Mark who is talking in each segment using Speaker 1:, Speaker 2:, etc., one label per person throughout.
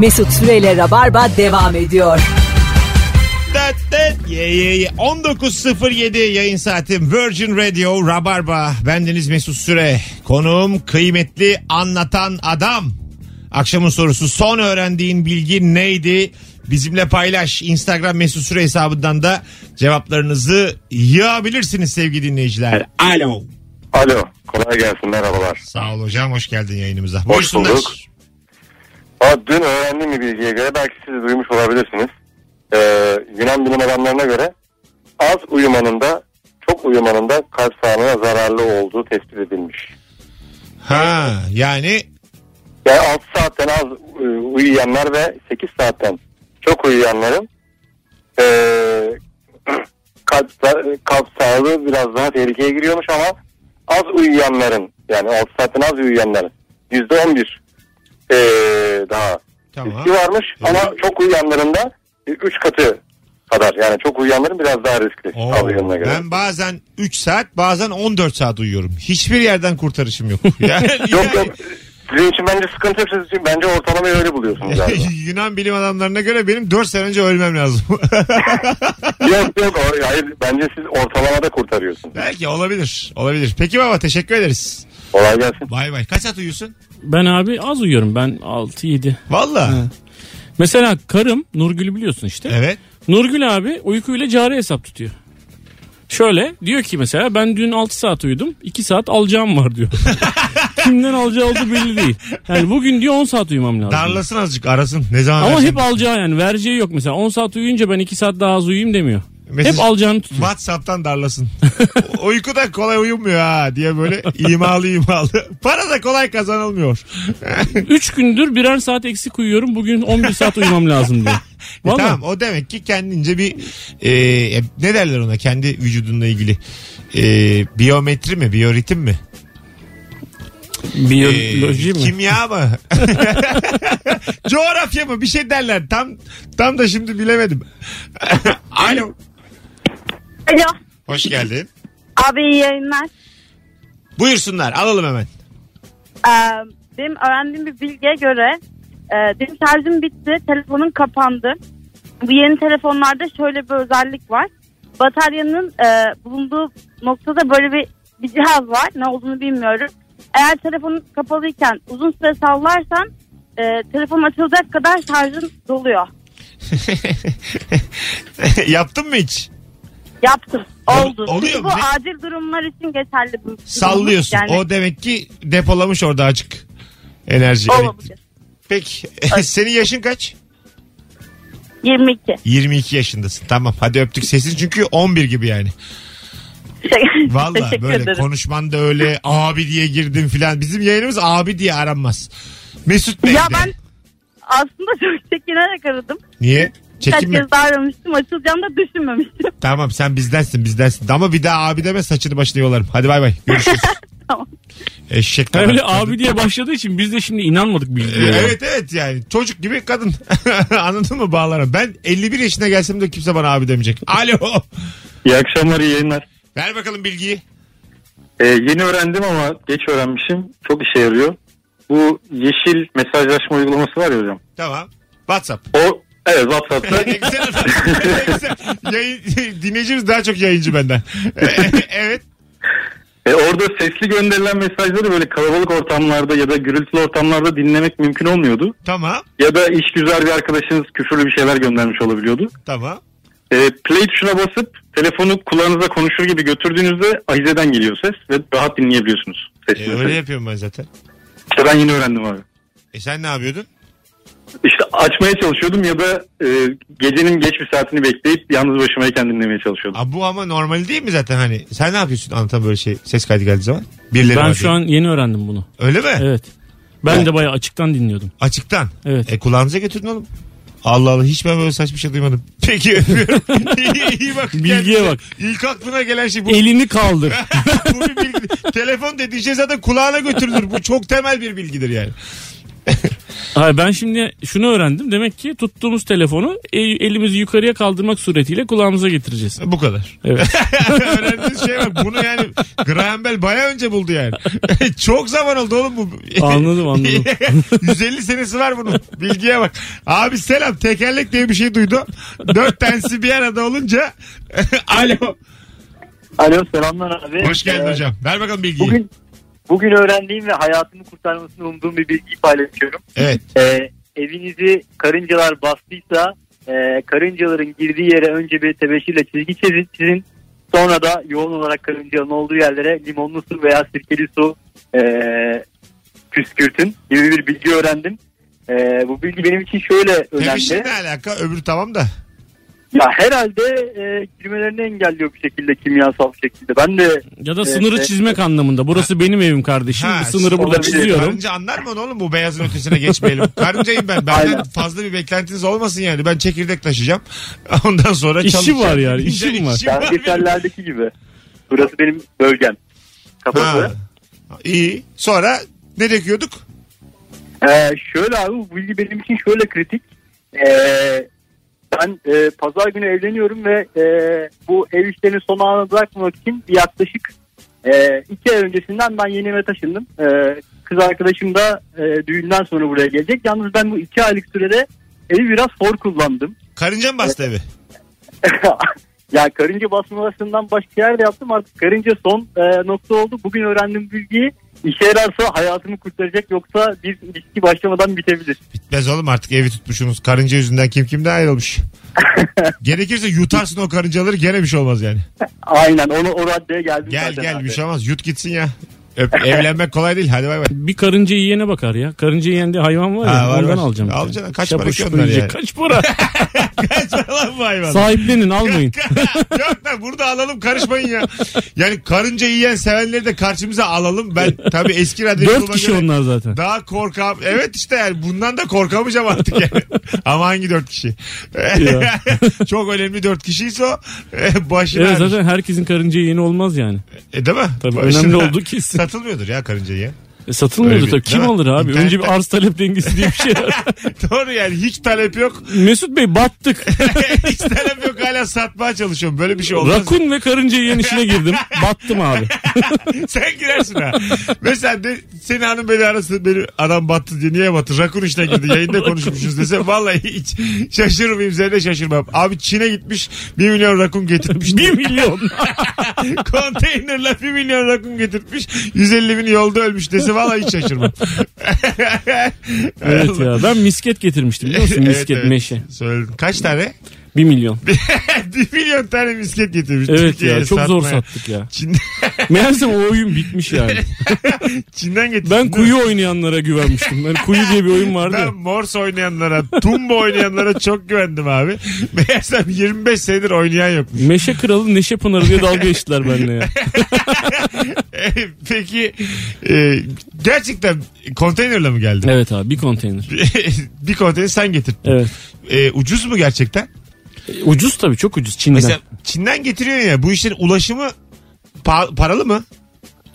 Speaker 1: Mesut Süreyle Rabarba devam ediyor.
Speaker 2: Dat, dat, ye, ye, ye. 19.07 yayın saatim Virgin Radio Rabarba. Bendeniz Mesut Süre. Konuğum kıymetli anlatan adam. Akşamın sorusu son öğrendiğin bilgi neydi? Bizimle paylaş. Instagram Mesut Süre hesabından da cevaplarınızı yığabilirsiniz sevgili dinleyiciler.
Speaker 3: Alo.
Speaker 4: Alo, kolay gelsin, merhabalar.
Speaker 2: Sağ ol hocam hoş geldin yayınımıza.
Speaker 4: Hoş
Speaker 2: Buyursunlar.
Speaker 4: bulduk. Aa, dün öğrendiğim bir bilgiye göre, belki siz de duymuş olabilirsiniz. Ee, Yunan bilim adamlarına göre az uyumanın da çok uyumanın da kalp sağlığına zararlı olduğu tespit edilmiş.
Speaker 2: Ha yani
Speaker 4: Yani 6 saatten az e, uyuyanlar ve 8 saatten çok uyuyanların e, kalp, sa- kalp sağlığı biraz daha tehlikeye giriyormuş ama az uyuyanların yani 6 saatten az uyuyanların %11 e, daha
Speaker 2: tamam.
Speaker 4: riski varmış ama çok uyuyanların da 3 katı kadar yani çok uyuyanların biraz daha riskli
Speaker 2: Oo,
Speaker 4: az uyuyanına göre.
Speaker 2: ben bazen 3 saat bazen 14 saat uyuyorum. Hiçbir yerden kurtarışım yok. Yani,
Speaker 4: Yok yok sizin için bence sıkıntı yok siz için bence ortalamayı öyle buluyorsunuz galiba.
Speaker 2: Yunan bilim adamlarına göre benim 4 sene önce ölmem lazım.
Speaker 4: yok yok o- hayır bence siz ortalamada kurtarıyorsunuz.
Speaker 2: Belki olabilir. Olabilir. Peki baba teşekkür ederiz.
Speaker 4: Kolay gelsin.
Speaker 2: Bay bay. Kaç saat uyuyorsun?
Speaker 3: Ben abi az uyuyorum ben 6-7.
Speaker 2: Valla.
Speaker 3: Mesela karım Nurgül'ü biliyorsun işte.
Speaker 2: Evet.
Speaker 3: Nurgül abi uykuyla cari hesap tutuyor. Şöyle diyor ki mesela ben dün 6 saat uyudum 2 saat alacağım var diyor. Kimden alacağı olduğu belli değil. Yani bugün diyor 10 saat uyumam lazım.
Speaker 2: Darlasın azıcık arasın. Ne zaman
Speaker 3: Ama
Speaker 2: versen.
Speaker 3: hep alacağı yani vereceği yok mesela 10 saat uyuyunca ben 2 saat daha az uyuyayım demiyor.
Speaker 2: Mesaj-
Speaker 3: Hep alacağını tutuyor.
Speaker 2: Whatsapp'tan darlasın. O- Uyku da kolay uyumuyor ha diye böyle imalı imalı. Para da kolay kazanılmıyor.
Speaker 3: 3 gündür birer saat eksik uyuyorum bugün 11 saat uyumam lazım diyor.
Speaker 2: E
Speaker 3: Vallahi.
Speaker 2: tamam o demek ki kendince bir e, e, ne derler ona kendi vücudunla ilgili e, biyometri mi biyoritim mi? E,
Speaker 3: Biyoloji mi?
Speaker 2: Kimya mı? Coğrafya mı? Bir şey derler. Tam tam da şimdi bilemedim. Alo.
Speaker 5: Alo.
Speaker 2: Hoş geldin.
Speaker 5: Abi iyi yayınlar.
Speaker 2: Buyursunlar alalım hemen.
Speaker 5: Ee, benim öğrendiğim bir bilgiye göre e, benim şarjım bitti. Telefonum kapandı. Bu yeni telefonlarda şöyle bir özellik var. Bataryanın e, bulunduğu noktada böyle bir, bir cihaz var. Ne olduğunu bilmiyorum. Eğer telefonun kapalıyken uzun süre sallarsan e, telefon açılacak kadar şarjın doluyor.
Speaker 2: Yaptın mı hiç?
Speaker 5: Yaptım.
Speaker 2: Ol-
Speaker 5: Oldu.
Speaker 2: oluyor
Speaker 5: Çünkü
Speaker 2: mu?
Speaker 5: bu
Speaker 2: Ne-
Speaker 5: acil durumlar için geçerli. bu.
Speaker 2: Sallıyorsun.
Speaker 5: Yani,
Speaker 2: O demek ki depolamış orada açık enerji. elektrik.
Speaker 5: olabilir.
Speaker 2: Peki senin yaşın kaç?
Speaker 5: 22.
Speaker 2: 22 yaşındasın. Tamam hadi öptük sesin çünkü 11 gibi yani. Valla
Speaker 5: Teşekkür
Speaker 2: böyle
Speaker 5: ederim.
Speaker 2: konuşman da öyle abi diye girdin filan. Bizim yayınımız abi diye aranmaz. Mesut Bey
Speaker 5: Ya
Speaker 2: de.
Speaker 5: ben aslında çok çekinerek aradım.
Speaker 2: Niye?
Speaker 5: Kaç
Speaker 2: Çekinme.
Speaker 5: kez daha aramıştım. Açılacağını da düşünmemiştim.
Speaker 2: Tamam sen bizdensin bizdensin. Ama bir daha abi deme saçını başına yolarım. Hadi bay bay görüşürüz.
Speaker 5: Tamam.
Speaker 2: Eşek kadar
Speaker 3: Öyle
Speaker 2: kadın.
Speaker 3: abi diye başladığı için biz de şimdi inanmadık
Speaker 2: Ee,
Speaker 3: bilgiye.
Speaker 2: Evet evet yani çocuk gibi kadın. Anladın mı bağlara? Ben 51 yaşına gelsem de kimse bana abi demeyecek. Alo.
Speaker 6: İyi akşamlar, iyi yayınlar.
Speaker 2: Ver bakalım bilgiyi.
Speaker 6: Ee, yeni öğrendim ama geç öğrenmişim. Çok işe yarıyor. Bu yeşil mesajlaşma uygulaması var ya hocam.
Speaker 2: Tamam. WhatsApp.
Speaker 6: O evet WhatsApp'ta
Speaker 2: Ne güzel. Ne güzel. Yayın- dinleyicimiz daha çok yayıncı benden. evet.
Speaker 6: e, orada sesli gönderilen mesajları böyle kalabalık ortamlarda ya da gürültülü ortamlarda dinlemek mümkün olmuyordu.
Speaker 2: Tamam.
Speaker 6: Ya da iş güzel bir arkadaşınız küfürlü bir şeyler göndermiş olabiliyordu.
Speaker 2: Tamam.
Speaker 6: E, play tuşuna basıp telefonu kulağınıza konuşur gibi götürdüğünüzde ahizeden geliyor ses ve rahat dinleyebiliyorsunuz. Sesli
Speaker 2: E,
Speaker 6: mesajı.
Speaker 2: öyle yapıyorum ben zaten.
Speaker 6: İşte ben yeni öğrendim abi.
Speaker 2: E sen ne yapıyordun?
Speaker 6: İşte açmaya çalışıyordum ya da e, gecenin geç bir saatini bekleyip yalnız başımayken dinlemeye çalışıyordum.
Speaker 2: Aa, bu ama normal değil mi zaten hani? Sen ne yapıyorsun anlatan böyle şey ses kaydı geldiği zaman? Birileri
Speaker 3: Ben
Speaker 2: var
Speaker 3: şu
Speaker 2: diye.
Speaker 3: an yeni öğrendim bunu.
Speaker 2: Öyle mi?
Speaker 3: Evet. Ben de bayağı açıktan dinliyordum.
Speaker 2: Açıktan.
Speaker 3: Evet.
Speaker 2: E kulağınıza götürdün oğlum. Allah Allah hiç ben böyle saçma şey duymadım. Peki öpüyorum. iyi, iyi bak.
Speaker 3: Bilgiye
Speaker 2: kendinize.
Speaker 3: bak.
Speaker 2: İlk aklına gelen şey bu.
Speaker 3: Elini kaldır.
Speaker 2: bu bir bilgi. Telefon dediği şey zaten kulağına götürülür. Bu çok temel bir bilgidir yani.
Speaker 3: Hayır ben şimdi şunu öğrendim. Demek ki tuttuğumuz telefonu e- elimizi yukarıya kaldırmak suretiyle kulağımıza getireceğiz.
Speaker 2: Bu kadar.
Speaker 3: Evet.
Speaker 2: Öğrendiğiniz şey bak. Bunu yani Graham Bell baya önce buldu yani. Çok zaman oldu oğlum bu.
Speaker 3: Anladım anladım.
Speaker 2: 150 senesi var bunun. Bilgiye bak. Abi selam tekerlek diye bir şey duydum. Dört tanesi bir arada olunca. Alo.
Speaker 7: Alo selamlar abi.
Speaker 2: Hoş geldin
Speaker 7: Ee,
Speaker 2: hocam. Ver bakalım bilgiyi.
Speaker 7: Bugün bugün öğrendiğim ve hayatımı kurtarmasını umduğum bir bilgiyi paylaşıyorum.
Speaker 2: Evet.
Speaker 7: Ee, evinizi karıncalar bastıysa e, karıncaların girdiği yere önce bir tebeşirle çizgi çizin. çizin. Sonra da yoğun olarak karıncanın olduğu yerlere limonlu su veya sirkeli su e, püskürtün gibi bir bilgi öğrendim. E, bu bilgi benim için şöyle önemli.
Speaker 2: Temişin ne alaka? Öbürü tamam da.
Speaker 7: Ya herhalde e, girmelerini engelliyor bir şekilde kimyasal şekilde. Ben de
Speaker 3: Ya da
Speaker 7: Evet,
Speaker 3: sınırı
Speaker 7: evet.
Speaker 3: çizmek anlamında. Burası benim evim kardeşim.
Speaker 2: Ha,
Speaker 3: Bu sınırı burada
Speaker 7: olabilir.
Speaker 3: çiziyorum.
Speaker 2: Karınca anlar mı onu oğlum bu beyazın ötesine geçmeyelim. Karıncayım ben. Benden
Speaker 7: Aynen.
Speaker 2: fazla bir beklentiniz olmasın yani. Ben çekirdek taşıyacağım. Ondan sonra
Speaker 3: İşim
Speaker 2: çalışacağım.
Speaker 3: var yani, işim
Speaker 2: Yani
Speaker 3: var.
Speaker 7: Ben geçenlerdeki gibi. Burası benim bölgem.
Speaker 2: Ha.
Speaker 7: Kafası.
Speaker 2: İyi. Sonra ne döküyorduk?
Speaker 7: Ee, şöyle abi bu bilgi benim için şöyle kritik. Ee, ben e, pazar günü evleniyorum ve e, bu ev işlerini son ana bırakmamak için yaklaşık e, iki ay öncesinden ben yeni eve taşındım. E, kız arkadaşım da e, düğünden sonra buraya gelecek. Yalnız ben bu iki aylık sürede evi biraz hor kullandım.
Speaker 2: Karınca mı bastı evi?
Speaker 7: ya karınca basmalarından başka yerde yaptım artık karınca son e, nokta oldu. Bugün öğrendiğim bilgiyi işe yararsa hayatımı kurtaracak yoksa bir ilişki başlamadan bitebilir.
Speaker 2: Bitmez oğlum artık evi tutmuşsunuz. Karınca yüzünden kim kimden ayrılmış. Gerekirse yutarsın o karıncaları gene bir şey olmaz yani.
Speaker 7: Aynen onu o raddeye geldim.
Speaker 2: Gel
Speaker 7: zaten
Speaker 2: gel
Speaker 7: abi.
Speaker 2: bir şey olmaz. Yut gitsin ya. Öp, evlenmek kolay değil. Hadi bay bay.
Speaker 3: Bir karınca yiyene bakar ya. Karınca yiyen diye hayvan var ya.
Speaker 2: Ha, var,
Speaker 3: ondan
Speaker 2: var.
Speaker 3: alacağım. bir tane.
Speaker 2: Alacaksın. Kaç
Speaker 3: Şapur
Speaker 2: para ki
Speaker 3: şupur
Speaker 2: onlar
Speaker 3: yiyecek.
Speaker 2: yani?
Speaker 3: Kaç para?
Speaker 2: Kaçma lan bu hayvan.
Speaker 3: Sahiplenin almayın.
Speaker 2: Yok da burada alalım karışmayın ya. Yani karınca yiyen sevenleri de karşımıza alalım. Ben tabii eski radyo
Speaker 3: Dört
Speaker 2: yoluma
Speaker 3: kişi
Speaker 2: göre
Speaker 3: onlar zaten.
Speaker 2: Daha korkam. Evet işte yani bundan da korkamayacağım artık yani. Ama hangi dört kişi?
Speaker 3: Ya.
Speaker 2: Çok önemli dört kişiyse o e, başına.
Speaker 3: Evet zaten herkesin karınca yiyeni olmaz yani.
Speaker 2: E, değil mi?
Speaker 3: Tabii
Speaker 2: Başına-
Speaker 3: önemli olduğu kesin.
Speaker 2: Satılmıyordur ya karınca yiyen.
Speaker 3: E, satılmıyordu
Speaker 2: Öyle bir-
Speaker 3: tabii. Kim
Speaker 2: Değil mi?
Speaker 3: alır abi?
Speaker 2: İnternette-
Speaker 3: Önce bir arz talep dengesi diye bir şey var.
Speaker 2: Doğru yani hiç talep yok.
Speaker 3: Mesut Bey battık.
Speaker 2: hiç talep yok hala satmaya çalışıyorum. Böyle bir şey olmaz.
Speaker 3: Rakun ve karınca yiyen işine girdim. Battım abi.
Speaker 2: Sen girersin ha. Mesela de, senin hanım beni arasın beni adam battı diye niye battı? Rakun işine girdi yayında konuşmuşuz dese vallahi hiç şaşırmayayım seni de şaşırmam. Abi Çin'e gitmiş 1 milyon rakun getirmiş.
Speaker 3: Bir milyon.
Speaker 2: Konteynerle 1 milyon rakun getirtmiş 150 bin yolda ölmüş dese vallahi hiç şaşırmam.
Speaker 3: evet ya ben misket getirmiştim biliyor musun? Misket meşe.
Speaker 2: Söyledim. Kaç tane?
Speaker 3: Bir milyon.
Speaker 2: 1 milyon tane misket getirmiş.
Speaker 3: Evet
Speaker 2: Türkiye'ye
Speaker 3: ya çok zor
Speaker 2: satmaya.
Speaker 3: sattık ya.
Speaker 2: Çin-
Speaker 3: Meğerse o oyun bitmiş yani.
Speaker 2: Çin'den getirmiş.
Speaker 3: Ben kuyu oynayanlara güvenmiştim. Ben kuyu diye bir oyun vardı.
Speaker 2: Ben
Speaker 3: ya.
Speaker 2: Morse oynayanlara, Tumba oynayanlara çok güvendim abi. Meğersem 25 senedir oynayan yok.
Speaker 3: Meşe kralı Neşe Pınarı diye dalga geçtiler benimle ya.
Speaker 2: E, Peki e, gerçekten konteynerle mi geldin?
Speaker 3: Evet abi bir konteyner.
Speaker 2: bir konteyner sen getirdin.
Speaker 3: Evet.
Speaker 2: E, ucuz mu gerçekten?
Speaker 3: E, Ucuz tabii çok ucuz Çin'den.
Speaker 2: Mesela Çin'den getiriyorsun ya bu işlerin ulaşımı pa- paralı mı?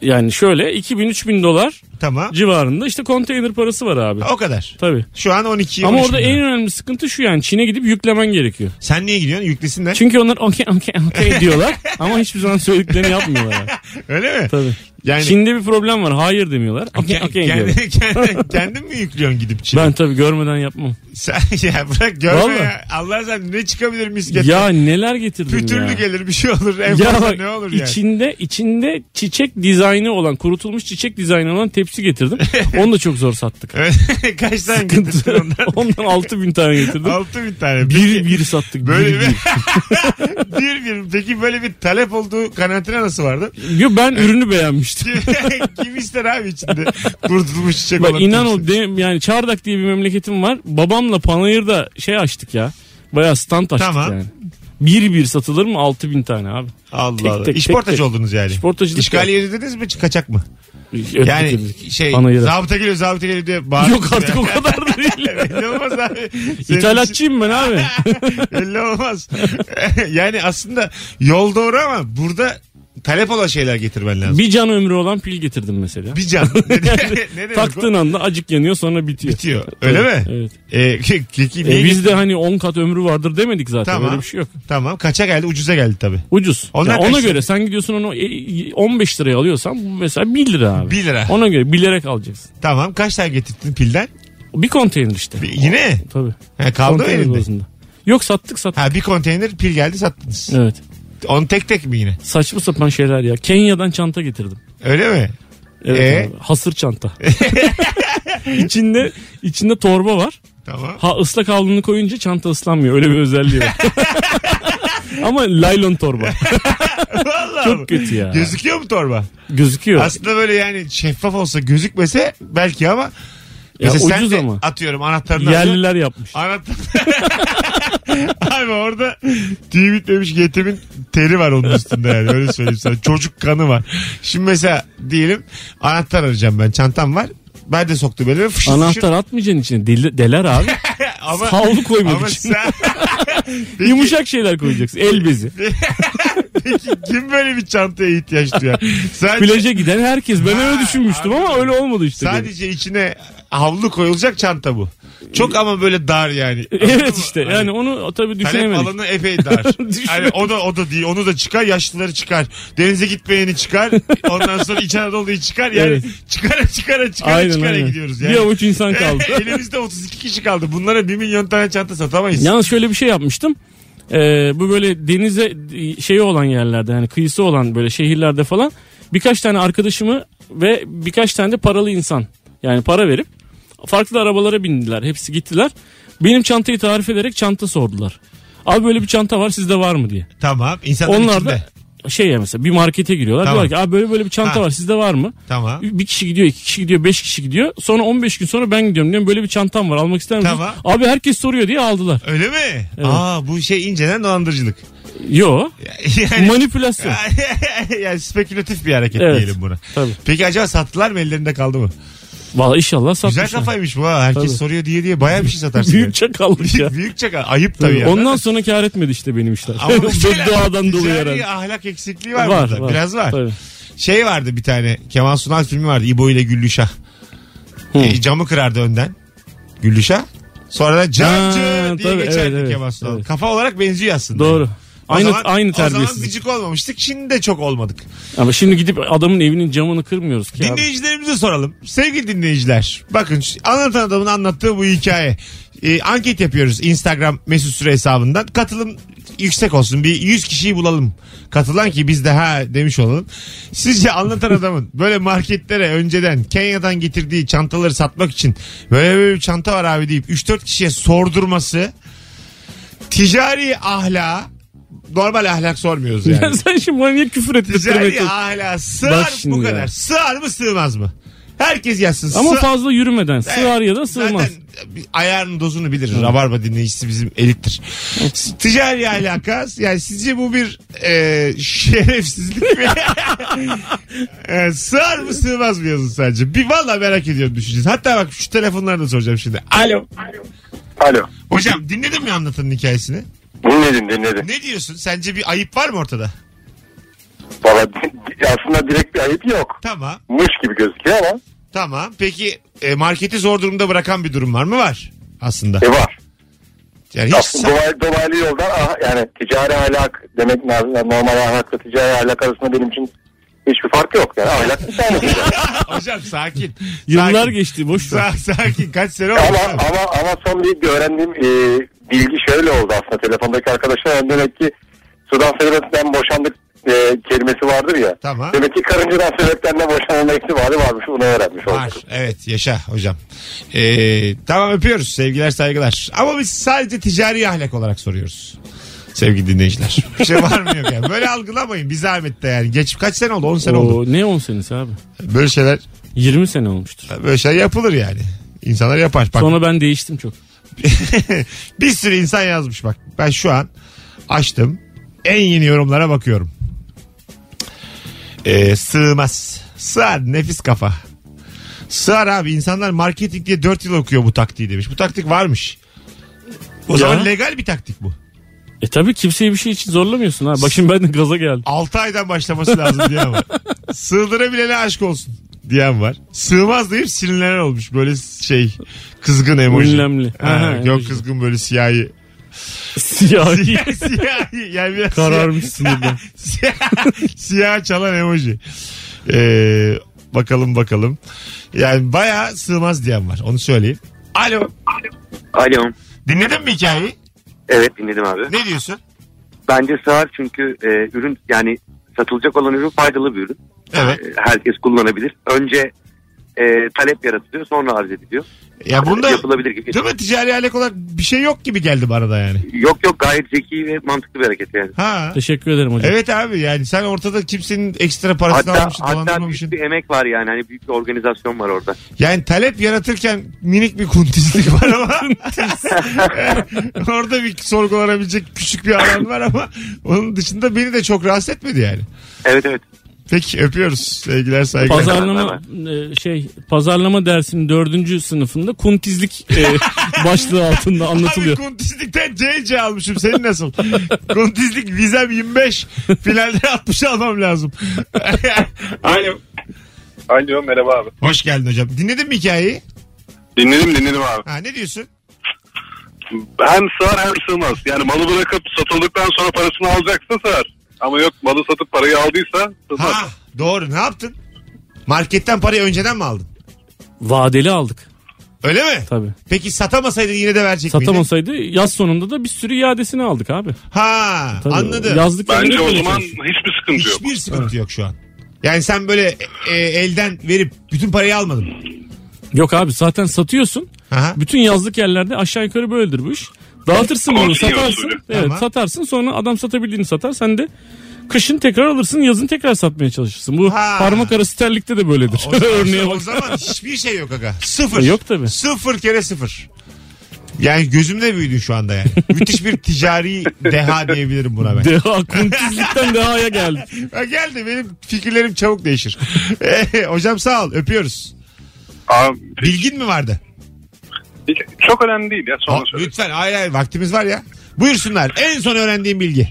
Speaker 3: Yani şöyle 2000-3000 dolar
Speaker 2: Tamam.
Speaker 3: civarında işte konteyner parası var abi.
Speaker 2: O kadar.
Speaker 3: Tabii.
Speaker 2: Şu an 12
Speaker 3: Ama
Speaker 2: 13
Speaker 3: orada
Speaker 2: bin lira.
Speaker 3: en önemli sıkıntı şu yani Çin'e gidip yüklemen gerekiyor.
Speaker 2: Sen niye gidiyorsun? Yüklesinler.
Speaker 3: Çünkü onlar okey okey okey diyorlar ama hiçbir zaman söylediklerini yapmıyorlar. yani.
Speaker 2: Öyle mi?
Speaker 3: Tabii.
Speaker 2: Yani
Speaker 3: Çin'de bir problem var. Hayır demiyorlar. Okey
Speaker 2: Ke-
Speaker 3: okey diyorlar.
Speaker 2: kendi, kendi- kendin mi yüklüyorsun gidip Çin'e?
Speaker 3: Ben tabii görmeden yapmam.
Speaker 2: Sen ya bırak görme
Speaker 3: Vallahi.
Speaker 2: ya. Allah sen ne çıkabilir misket?
Speaker 3: Ya neler getirdim
Speaker 2: Pütürlü
Speaker 3: ya.
Speaker 2: gelir bir şey olur. En
Speaker 3: Ya
Speaker 2: fazla
Speaker 3: bak,
Speaker 2: ne olur yani.
Speaker 3: içinde içinde çiçek dizaynı olan kurutulmuş çiçek dizaynı olan tepsi getirdim. Onu da çok zor sattık.
Speaker 2: Kaç tane getirdin
Speaker 3: Sıkıntı.
Speaker 2: ondan?
Speaker 3: Ondan 6000 tane getirdim.
Speaker 2: Altı bin tane.
Speaker 3: Bir bir sattık.
Speaker 2: Böyle
Speaker 3: Böyle
Speaker 2: bir, bir bir. Peki böyle bir talep olduğu kanaatine nasıl vardı?
Speaker 3: ben ürünü beğenmiştim.
Speaker 2: Şey Kim ister abi içinde kurtulmuş çiçek
Speaker 3: Bak
Speaker 2: olan
Speaker 3: inan
Speaker 2: kimse?
Speaker 3: o de- yani Çardak diye bir memleketim var. Babamla Panayır'da şey açtık ya. Bayağı stand açtık
Speaker 2: Tamam.
Speaker 3: yani. Bir bir satılır mı 6000 tane abi. Tek
Speaker 2: Allah Allah.
Speaker 3: tek, tek
Speaker 2: İşportacı
Speaker 3: tek.
Speaker 2: oldunuz yani.
Speaker 3: İşportacılık
Speaker 2: İşgaliye dediniz mi kaçak mı? Yani şey
Speaker 3: Panayır'a.
Speaker 2: zabıta geliyor zabıta geliyor diye bağırıyor.
Speaker 3: Yok artık o kadar da değil.
Speaker 2: Olmaz abi. Senin için-
Speaker 3: İthalatçıyım ben abi.
Speaker 2: Belli olmaz. yani aslında yol doğru ama burada talep olan şeyler getirmen lazım.
Speaker 3: Bir can ömrü olan pil getirdim mesela.
Speaker 2: Bir can. ne demek o?
Speaker 3: Taktığın anda acık yanıyor sonra bitiyor.
Speaker 2: Bitiyor. Öyle
Speaker 3: Evet,
Speaker 2: mi?
Speaker 3: Evet.
Speaker 2: Ee, ke- keki niye
Speaker 3: E,
Speaker 2: getirdin?
Speaker 3: bizde hani 10 kat ömrü vardır demedik zaten.
Speaker 2: Tamam.
Speaker 3: Öyle bir şey yok.
Speaker 2: Tamam. Kaça geldi? Ucuza geldi tabii.
Speaker 3: Ucuz.
Speaker 2: Onlar
Speaker 3: Ya ona
Speaker 2: kaç lira?
Speaker 3: göre sen gidiyorsun onu e, 15 liraya alıyorsan bu mesela 1 lira abi.
Speaker 2: 1 lira.
Speaker 3: Ona göre bilerek alacaksın.
Speaker 2: Tamam. Kaç tane getirdin pilden?
Speaker 3: Bir konteyner işte.
Speaker 2: Bir- yine.
Speaker 3: Tabii.
Speaker 2: Ha, kaldı mı
Speaker 3: Konteyner
Speaker 2: elinde?
Speaker 3: bazında. Yok sattık sattık.
Speaker 2: Ha bir konteyner pil geldi sattınız.
Speaker 3: Evet.
Speaker 2: Onu tek tek mi yine?
Speaker 3: Saçma sapan şeyler ya. Kenya'dan çanta getirdim.
Speaker 2: Öyle mi?
Speaker 3: Evet
Speaker 2: Ee?
Speaker 3: abi. Hasır çanta. içinde içinde torba var.
Speaker 2: Tamam.
Speaker 3: Ha ıslak havlunu koyunca çanta ıslanmıyor. Öyle bir özelliği var. Ama laylon torba.
Speaker 2: Vallahi
Speaker 3: Çok
Speaker 2: mi?
Speaker 3: kötü ya.
Speaker 2: Gözüküyor mu torba?
Speaker 3: Gözüküyor.
Speaker 2: Aslında böyle yani şeffaf olsa gözükmese belki ama
Speaker 3: Ya
Speaker 2: mesela sen
Speaker 3: ucuz
Speaker 2: de
Speaker 3: ama.
Speaker 2: atıyorum anahtarını alıyorsun.
Speaker 3: Yerliler yapmış.
Speaker 2: Anahtar. Abi orada tüy bitmemiş yetimin teri var onun üstünde yani öyle söyleyeyim sana. Çocuk kanı var. Şimdi mesela diyelim anahtar arayacağım ben çantam var. Ben de soktum elime fışır fışır.
Speaker 3: Anahtar atmayacaksın içine. Deli- deler abi.
Speaker 2: Ama,
Speaker 3: Havlu koymak
Speaker 2: ama
Speaker 3: için.
Speaker 2: sen... Peki-
Speaker 3: Yumuşak şeyler koyacaksın. El bezi.
Speaker 2: Peki kim böyle bir çantaya ihtiyaç duyar? Sadece,
Speaker 3: Plaja giden herkes. Ben öyle düşünmüştüm ama öyle olmadı işte. benim.
Speaker 2: sadece içine havlu koyulacak çanta bu. Çok ama böyle dar yani. hani
Speaker 3: Evet işte. Yani onu tabii
Speaker 2: Talep
Speaker 3: düşünemedik.
Speaker 2: alanı epey dar. yani o da o da değil. Onu da çıkar. Yaşlıları çıkar. Denize gitmeyeni çıkar. Ondan sonra İç Anadolu'yu çıkar. Yani
Speaker 3: Evet.
Speaker 2: çıkara çıkara çıkara
Speaker 3: Aynen
Speaker 2: çıkara
Speaker 3: aynen.
Speaker 2: gidiyoruz. Yani.
Speaker 3: Bir avuç insan kaldı.
Speaker 2: Elimizde 32 kişi kaldı. Bunlara 1 milyon tane çanta satamayız.
Speaker 3: Yalnız şöyle bir şey yapmıştım. Ee, bu böyle denize şey olan yerlerde yani kıyısı olan böyle şehirlerde falan birkaç tane arkadaşımı ve birkaç tane de paralı insan yani para verip farklı arabalara bindiler. Hepsi gittiler. Benim çantayı tarif ederek çanta sordular. Abi böyle bir çanta var sizde var mı diye.
Speaker 2: Tamam. İnsanların
Speaker 3: Onlar
Speaker 2: içinde.
Speaker 3: da şey ya mesela bir markete giriyorlar.
Speaker 2: Tamam.
Speaker 3: Diyorlar ki abi böyle böyle bir çanta
Speaker 2: Ha.
Speaker 3: var sizde var mı?
Speaker 2: Tamam.
Speaker 3: Bir kişi gidiyor, iki kişi gidiyor, beş kişi gidiyor. Sonra 15 gün sonra ben gidiyorum diyorum böyle bir çantam var almak ister misin?
Speaker 2: Tamam.
Speaker 3: Abi herkes soruyor diye aldılar.
Speaker 2: Öyle mi? Aa bu şey inceden dolandırıcılık.
Speaker 3: Yo.
Speaker 2: Yani
Speaker 3: Manipülasyon.
Speaker 2: yani spekülatif bir hareket
Speaker 3: Evet.
Speaker 2: diyelim buna.
Speaker 3: Tabii.
Speaker 2: Peki acaba sattılar mı ellerinde kaldı mı?
Speaker 3: Valla inşallah
Speaker 2: Güzel
Speaker 3: satmışlar.
Speaker 2: kafaymış bu ha. Herkes
Speaker 3: Tabii.
Speaker 2: soruyor diye diye bayağı bir şey satarsın.
Speaker 3: Büyük çakallık ya.
Speaker 2: Büyük, büyük çakal. Ayıp tabii.
Speaker 3: Tabii.
Speaker 2: yani.
Speaker 3: Ondan sonra kar etmedi işte benim işler.
Speaker 2: Ama mesela
Speaker 3: Doğadan dolayı
Speaker 2: ticari
Speaker 3: herhalde.
Speaker 2: ahlak eksikliği var, burada. Biraz var.
Speaker 3: Tabii.
Speaker 2: Şey vardı bir tane Kemal Sunal filmi vardı. İbo ile Güllüşah. E, camı kırardı önden. Güllüşah. Sonra da cancı
Speaker 3: Ha,
Speaker 2: diye
Speaker 3: tabii,
Speaker 2: geçerdi
Speaker 3: evet, evet,
Speaker 2: Kemal Sunal.
Speaker 3: evet.
Speaker 2: Kafa olarak benziyor aslında.
Speaker 3: Doğru.
Speaker 2: O
Speaker 3: Aynı
Speaker 2: zaman-
Speaker 3: aynı
Speaker 2: O zaman
Speaker 3: terbiyesizlik.
Speaker 2: gıcık olmamıştık. Şimdi de çok olmadık.
Speaker 3: Ama şimdi gidip adamın evinin camını kırmıyoruz ki abi.
Speaker 2: Dinleyicilerimize soralım. Sevgili dinleyiciler. Bakın şu- anlatan adamın anlattığı bu hikaye. Ee, anket yapıyoruz Instagram mesut süre hesabından. Katılım yüksek olsun. Bir 100 kişiyi bulalım. Katılan ki biz de ha demiş olalım. Sizce anlatan adamın böyle marketlere önceden Kenya'dan getirdiği çantaları satmak için böyle, böyle bir çanta var abi deyip 3-4 kişiye sordurması ticari ahla normal ahlak sormuyoruz yani.
Speaker 3: Ya sen şimdi bana niye küfür ettirmek
Speaker 2: Ticari
Speaker 3: yok.
Speaker 2: hala sığar
Speaker 3: Bak
Speaker 2: bu
Speaker 3: şimdi
Speaker 2: kadar.
Speaker 3: ya.
Speaker 2: Sığar mı sığmaz mı? Herkes yazsın.
Speaker 3: Ama
Speaker 2: Sığ-
Speaker 3: fazla yürümeden. Sığar ya da sığmaz.
Speaker 2: Zaten bir ayarın dozunu bilir. Rabarba dinleyicisi bizim elittir. S- Ticari alaka. Yani sizce bu bir e, şerefsizlik mi? e, sığar mı sığmaz mı yazın sadece. Bir valla merak ediyorum düşüneceğiz. Hatta bak şu telefonları da soracağım şimdi. Alo.
Speaker 8: Alo.
Speaker 2: Hocam dinledin mi anlatanın hikayesini?
Speaker 8: Dinledim dinledim.
Speaker 2: Ne diyorsun? Sence bir ayıp var mı ortada?
Speaker 8: Valla aslında direkt bir ayıp yok.
Speaker 2: Tamam.
Speaker 8: Mış gibi gözüküyor ama
Speaker 2: Tamam. Peki e, marketi zor durumda bırakan bir durum var mı? Var aslında.
Speaker 8: e var.
Speaker 2: Yani hiç
Speaker 8: Aslında dolaylı, dolaylı yoldan ah, yani ticari ahlak demek lazım. Yani normal ahlakla ticari ahlak arasında benim için hiçbir fark yok. Yani ahlak bir şey. tane.
Speaker 2: hocam sakin.
Speaker 3: Yıllar
Speaker 2: Sakin.
Speaker 3: geçti boş ver.
Speaker 2: Sa- sakin kaç sene oldu?
Speaker 8: ama,
Speaker 2: abi?
Speaker 8: ama, ama son bir öğrendiğim e, bilgi şöyle oldu aslında. Telefondaki arkadaşlar demek ki sudan sebepten boşandık e, kelimesi vardır ya.
Speaker 2: Tamam.
Speaker 8: Demek ki karıncadan sebepten de boşanma ihtimali varmış. Bunu öğrenmiş olduk.
Speaker 2: Var. Evet yaşa hocam. Ee, tamam öpüyoruz sevgiler saygılar. Ama biz sadece ticari ahlak olarak soruyoruz. Sevgili dinleyiciler. Bir şey var mı yok yani. Böyle algılamayın bir zahmet de yani. Geç, kaç sene oldu? 10 sene oldu.
Speaker 3: Oo, ne 10 senesi abi?
Speaker 2: Böyle şeyler,
Speaker 3: 20 sene olmuştur.
Speaker 2: böyle şeyler yapılır yani. İnsanlar yapar. Bak,
Speaker 3: Sonra ben değiştim çok.
Speaker 2: bir sürü insan yazmış bak. Ben şu an açtım. En yeni yorumlara bakıyorum. Ee, sığmaz. Sığar nefis kafa. Sığar abi insanlar marketing diye 4 yıl okuyor bu taktiği demiş. Bu taktik varmış. O
Speaker 3: Ya.
Speaker 2: zaman legal bir taktik bu.
Speaker 3: E tabi kimseyi bir şey için zorlamıyorsun ha. Başım ben de gaza geldi.
Speaker 2: 6 aydan başlaması lazım diyen var. Sığdırabilene aşk olsun diyen var. Sığmaz deyip sinirlenen olmuş. Böyle şey kızgın emoji.
Speaker 3: Ünlemli.
Speaker 2: Ha,
Speaker 3: Aha,
Speaker 2: yok
Speaker 3: emoji.
Speaker 2: kızgın böyle siyahi.
Speaker 3: Siyahi.
Speaker 2: Siyah, siyahi. Yani biraz
Speaker 3: Kararmış sinirden.
Speaker 2: Siyah, siyah çalan emoji. Ee, bakalım bakalım. Yani bayağı sığmaz diyen var. Onu söyleyeyim. Alo.
Speaker 9: Alo.
Speaker 2: Dinledin mi hikayeyi?
Speaker 9: Evet dinledim abi.
Speaker 2: Ne diyorsun?
Speaker 9: Bence sığar çünkü e, ürün yani satılacak olan ürün faydalı bir ürün.
Speaker 2: Evet.
Speaker 9: E, herkes kullanabilir. Önce e, talep yaratılıyor sonra arz ediliyor.
Speaker 2: Ya bunda
Speaker 9: Yapılabilir gibi.
Speaker 2: değil mi ticari alek olarak bir şey yok gibi geldi bana da yani.
Speaker 9: Yok yok gayet zeki ve mantıklı bir hareket yani.
Speaker 2: Ha.
Speaker 3: Teşekkür ederim hocam.
Speaker 2: Evet abi yani sen ortada kimsenin ekstra parasını
Speaker 9: Hatta,
Speaker 2: almışsın
Speaker 9: hatta
Speaker 2: dolandırmamışsın.
Speaker 9: büyük bir emek var yani. Hani büyük bir organizasyon var orada.
Speaker 2: Yani talep yaratırken minik bir kuntizlik var ama orada bir sorgulanabilecek küçük bir alan var ama onun dışında beni de çok rahatsız etmedi yani.
Speaker 9: Evet evet.
Speaker 2: Peki öpüyoruz. Sevgiler saygılar.
Speaker 3: Pazarlama e, şey pazarlama dersinin dördüncü sınıfında kuntizlik e, başlığı altında anlatılıyor.
Speaker 2: Abi kuntizlikten CC almışım. Senin nasıl? kuntizlik vizem 25. Finalde 60 almam lazım. Alo.
Speaker 8: Alo merhaba abi.
Speaker 2: Hoş geldin hocam. Dinledin mi hikayeyi?
Speaker 8: Dinledim dinledim abi.
Speaker 2: Ha, ne diyorsun?
Speaker 8: Hem sığar hem sığmaz. Yani malı bırakıp satıldıktan sonra parasını alacaksa sığar. Ama yok malı satıp parayı aldıysa sığmaz.
Speaker 2: Ha, doğru ne yaptın? Marketten parayı önceden mi aldın?
Speaker 3: Vadeli aldık
Speaker 2: Öyle mi?
Speaker 3: tabi.
Speaker 2: Peki satamasaydın yine de verecek miydin?
Speaker 3: Satamasaydı yaz sonunda da bir sürü iadesini aldık abi.
Speaker 2: Ha
Speaker 3: Tabii.
Speaker 2: anladım.
Speaker 3: Yazlık
Speaker 10: Bence o
Speaker 3: yerine
Speaker 10: zaman
Speaker 3: koyacağız.
Speaker 10: hiçbir sıkıntı yok.
Speaker 2: Hiçbir sıkıntı yok şu an. Yani sen böyle e, elden verip bütün parayı almadın.
Speaker 3: Yok abi zaten satıyorsun.
Speaker 2: Aha.
Speaker 3: Bütün yazlık yerlerde aşağı yukarı böyledir bu iş. Dağıtırsın bunu
Speaker 10: Konsiyon
Speaker 3: satarsın.
Speaker 10: usulü.
Speaker 3: Evet
Speaker 2: Tamam.
Speaker 3: satarsın sonra adam satabildiğini satar. Sen de kışın tekrar alırsın yazın tekrar satmaya çalışırsın. Bu
Speaker 2: Ha.
Speaker 3: parmak arası terlikte de böyledir.
Speaker 2: O zaman,
Speaker 3: Örneğe
Speaker 2: o
Speaker 3: bak. E,
Speaker 2: zaman hiçbir şey yok aga. Sıfır.
Speaker 3: Yok tabii.
Speaker 2: Sıfır kere sıfır. Yani gözümde büyüdün şu anda yani. Müthiş bir ticari deha diyebilirim buna ben.
Speaker 3: Deha kuntizlikten dehaya geldik.
Speaker 2: Ha, geldi benim fikirlerim çabuk değişir. Eh, hocam sağ ol öpüyoruz.
Speaker 10: Abi,
Speaker 2: Bilgin mi vardı?
Speaker 10: hiç- çok önemli değil ya
Speaker 2: Ha,
Speaker 10: sonra söyleyeyim.
Speaker 2: lütfen hayır hayır vaktimiz var ya. Buyursunlar en son öğrendiğim bilgi.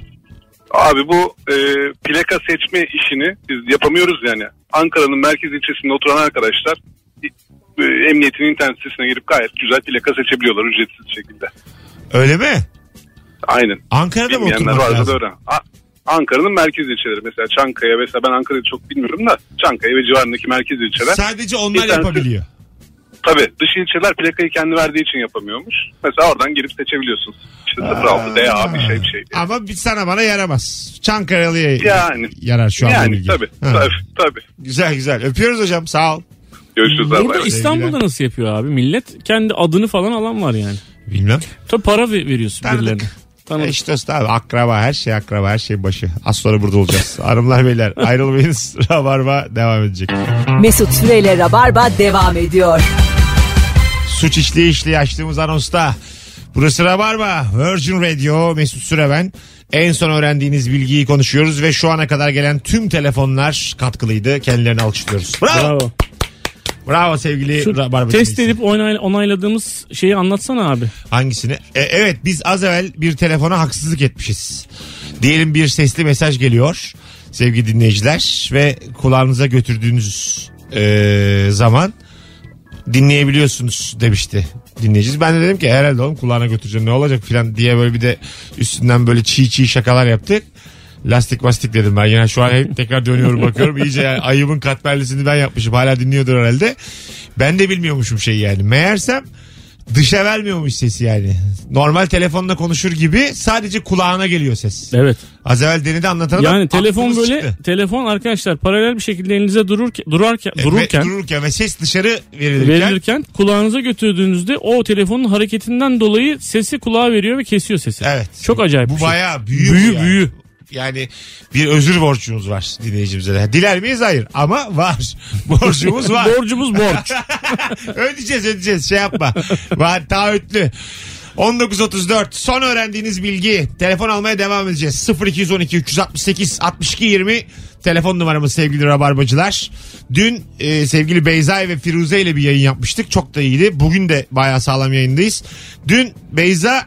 Speaker 10: Abi bu e, plaka seçme işini biz yapamıyoruz yani. Ankara'nın merkez ilçesinde oturan arkadaşlar e, emniyetin internet sitesine girip gayet güzel plaka seçebiliyorlar ücretsiz şekilde.
Speaker 2: Öyle mi?
Speaker 10: Aynen.
Speaker 2: Ankara'da mı
Speaker 10: Bilmeyenler
Speaker 2: oturmak
Speaker 10: varsa da
Speaker 2: lazım?
Speaker 10: öğren. A- Ankara'nın merkez ilçeleri mesela Çankaya vesaire ben Ankara'yı çok bilmiyorum da Çankaya ve civarındaki merkez ilçeler.
Speaker 2: Sadece onlar
Speaker 10: İnternet-
Speaker 2: yapabiliyor.
Speaker 10: Tabii dış ilçeler plakayı kendi verdiği için yapamıyormuş. Mesela oradan girip seçebiliyorsun. İşte 06 DA bir şey bir şey. diye.
Speaker 2: Ama bir sana bana yaramaz. Çankaralı'ya
Speaker 10: Yani.
Speaker 2: yarar şu an bu
Speaker 10: Yani
Speaker 2: bilgi.
Speaker 10: tabii,
Speaker 2: Ha.
Speaker 10: tabii tabii.
Speaker 2: Güzel güzel. Öpüyoruz hocam sağ ol.
Speaker 10: Görüşürüz. abi.
Speaker 3: Burada İstanbul'da
Speaker 2: Sevgiler.
Speaker 3: nasıl yapıyor abi? Millet kendi adını falan alan var yani.
Speaker 2: Bilmem.
Speaker 3: Tabii para ver- veriyorsun
Speaker 2: Tanıdık.
Speaker 3: birilerine. Tanıdık.
Speaker 2: Eş dost abi akraba her şey akraba her şey başı. Az sonra burada olacağız. Hanımlar beyler ayrılmayınız. Rabarba devam edecek.
Speaker 1: Mesut Süreyle Rabarba devam ediyor.
Speaker 2: Suç işliği işliği açtığımız anonsta. Burası Rabarba. Virgin Radio Mesut Süre ben. En son öğrendiğiniz bilgiyi konuşuyoruz ve şu ana kadar gelen tüm telefonlar katkılıydı. Kendilerini alkışlıyoruz. Bravo. Bravo,
Speaker 3: Bravo.
Speaker 2: sevgili
Speaker 3: Şu
Speaker 2: Şey, Rabarba.
Speaker 3: test
Speaker 2: dinleyicisi.
Speaker 3: edip onay- onayladığımız şeyi anlatsana abi.
Speaker 2: Hangisini? E, evet biz az evvel bir telefona haksızlık etmişiz. Diyelim bir sesli mesaj geliyor sevgili dinleyiciler ve kulağınıza götürdüğünüz e, zaman dinleyebiliyorsunuz demişti dinleyicimiz. Ben de dedim ki herhalde oğlum kulağına götüreceğim ne olacak filan diye böyle bir de üstünden böyle çiğ çiğ şakalar yaptık. Lastik mastik dedim ben. Yani şu an hep tekrar dönüyorum bakıyorum. İyice yani ayıbın katmerlisini ben yapmışım. Hala dinliyordur herhalde. Ben de bilmiyormuşum şeyi yani. Meğersem dışa vermiyormuş sesi yani. Normal telefonla konuşur gibi sadece kulağına geliyor ses.
Speaker 3: Evet.
Speaker 2: Az evvel denedi anlatan adam
Speaker 3: Yani telefon
Speaker 2: aklımız
Speaker 3: böyle
Speaker 2: çıktı.
Speaker 3: telefon arkadaşlar paralel bir şekilde elinize dururken durarken
Speaker 2: E, Ve-
Speaker 3: dururken
Speaker 2: dururken ve ses dışarı verilirken.
Speaker 3: verilirken kulağınıza götürdüğünüzde o telefonun hareketinden dolayı sesi kulağa veriyor ve kesiyor sesi.
Speaker 2: Evet.
Speaker 3: Çok acayip
Speaker 2: Bu
Speaker 3: bir şey.
Speaker 2: bayağı büyü. bu
Speaker 3: büyü
Speaker 2: yani.
Speaker 3: büyü.
Speaker 2: Yani bir özür borcumuz var dinleyicimize. de. Diler miyiz? Hayır. Ama var. Borcumuz var.
Speaker 3: Borcumuz borç.
Speaker 2: ödeyeceğiz ödeyeceğiz şey yapma. Var taahhütlü. 19.34 son öğrendiğiniz bilgi. Telefon almaya devam edeceğiz. 0212 368 62 20 telefon numaramız sevgili rabarbacılar. Dün e, sevgili Beyza ve Firuze ile bir yayın yapmıştık. Çok da iyiydi. Bugün de bayağı sağlam yayındayız. Dün Beyza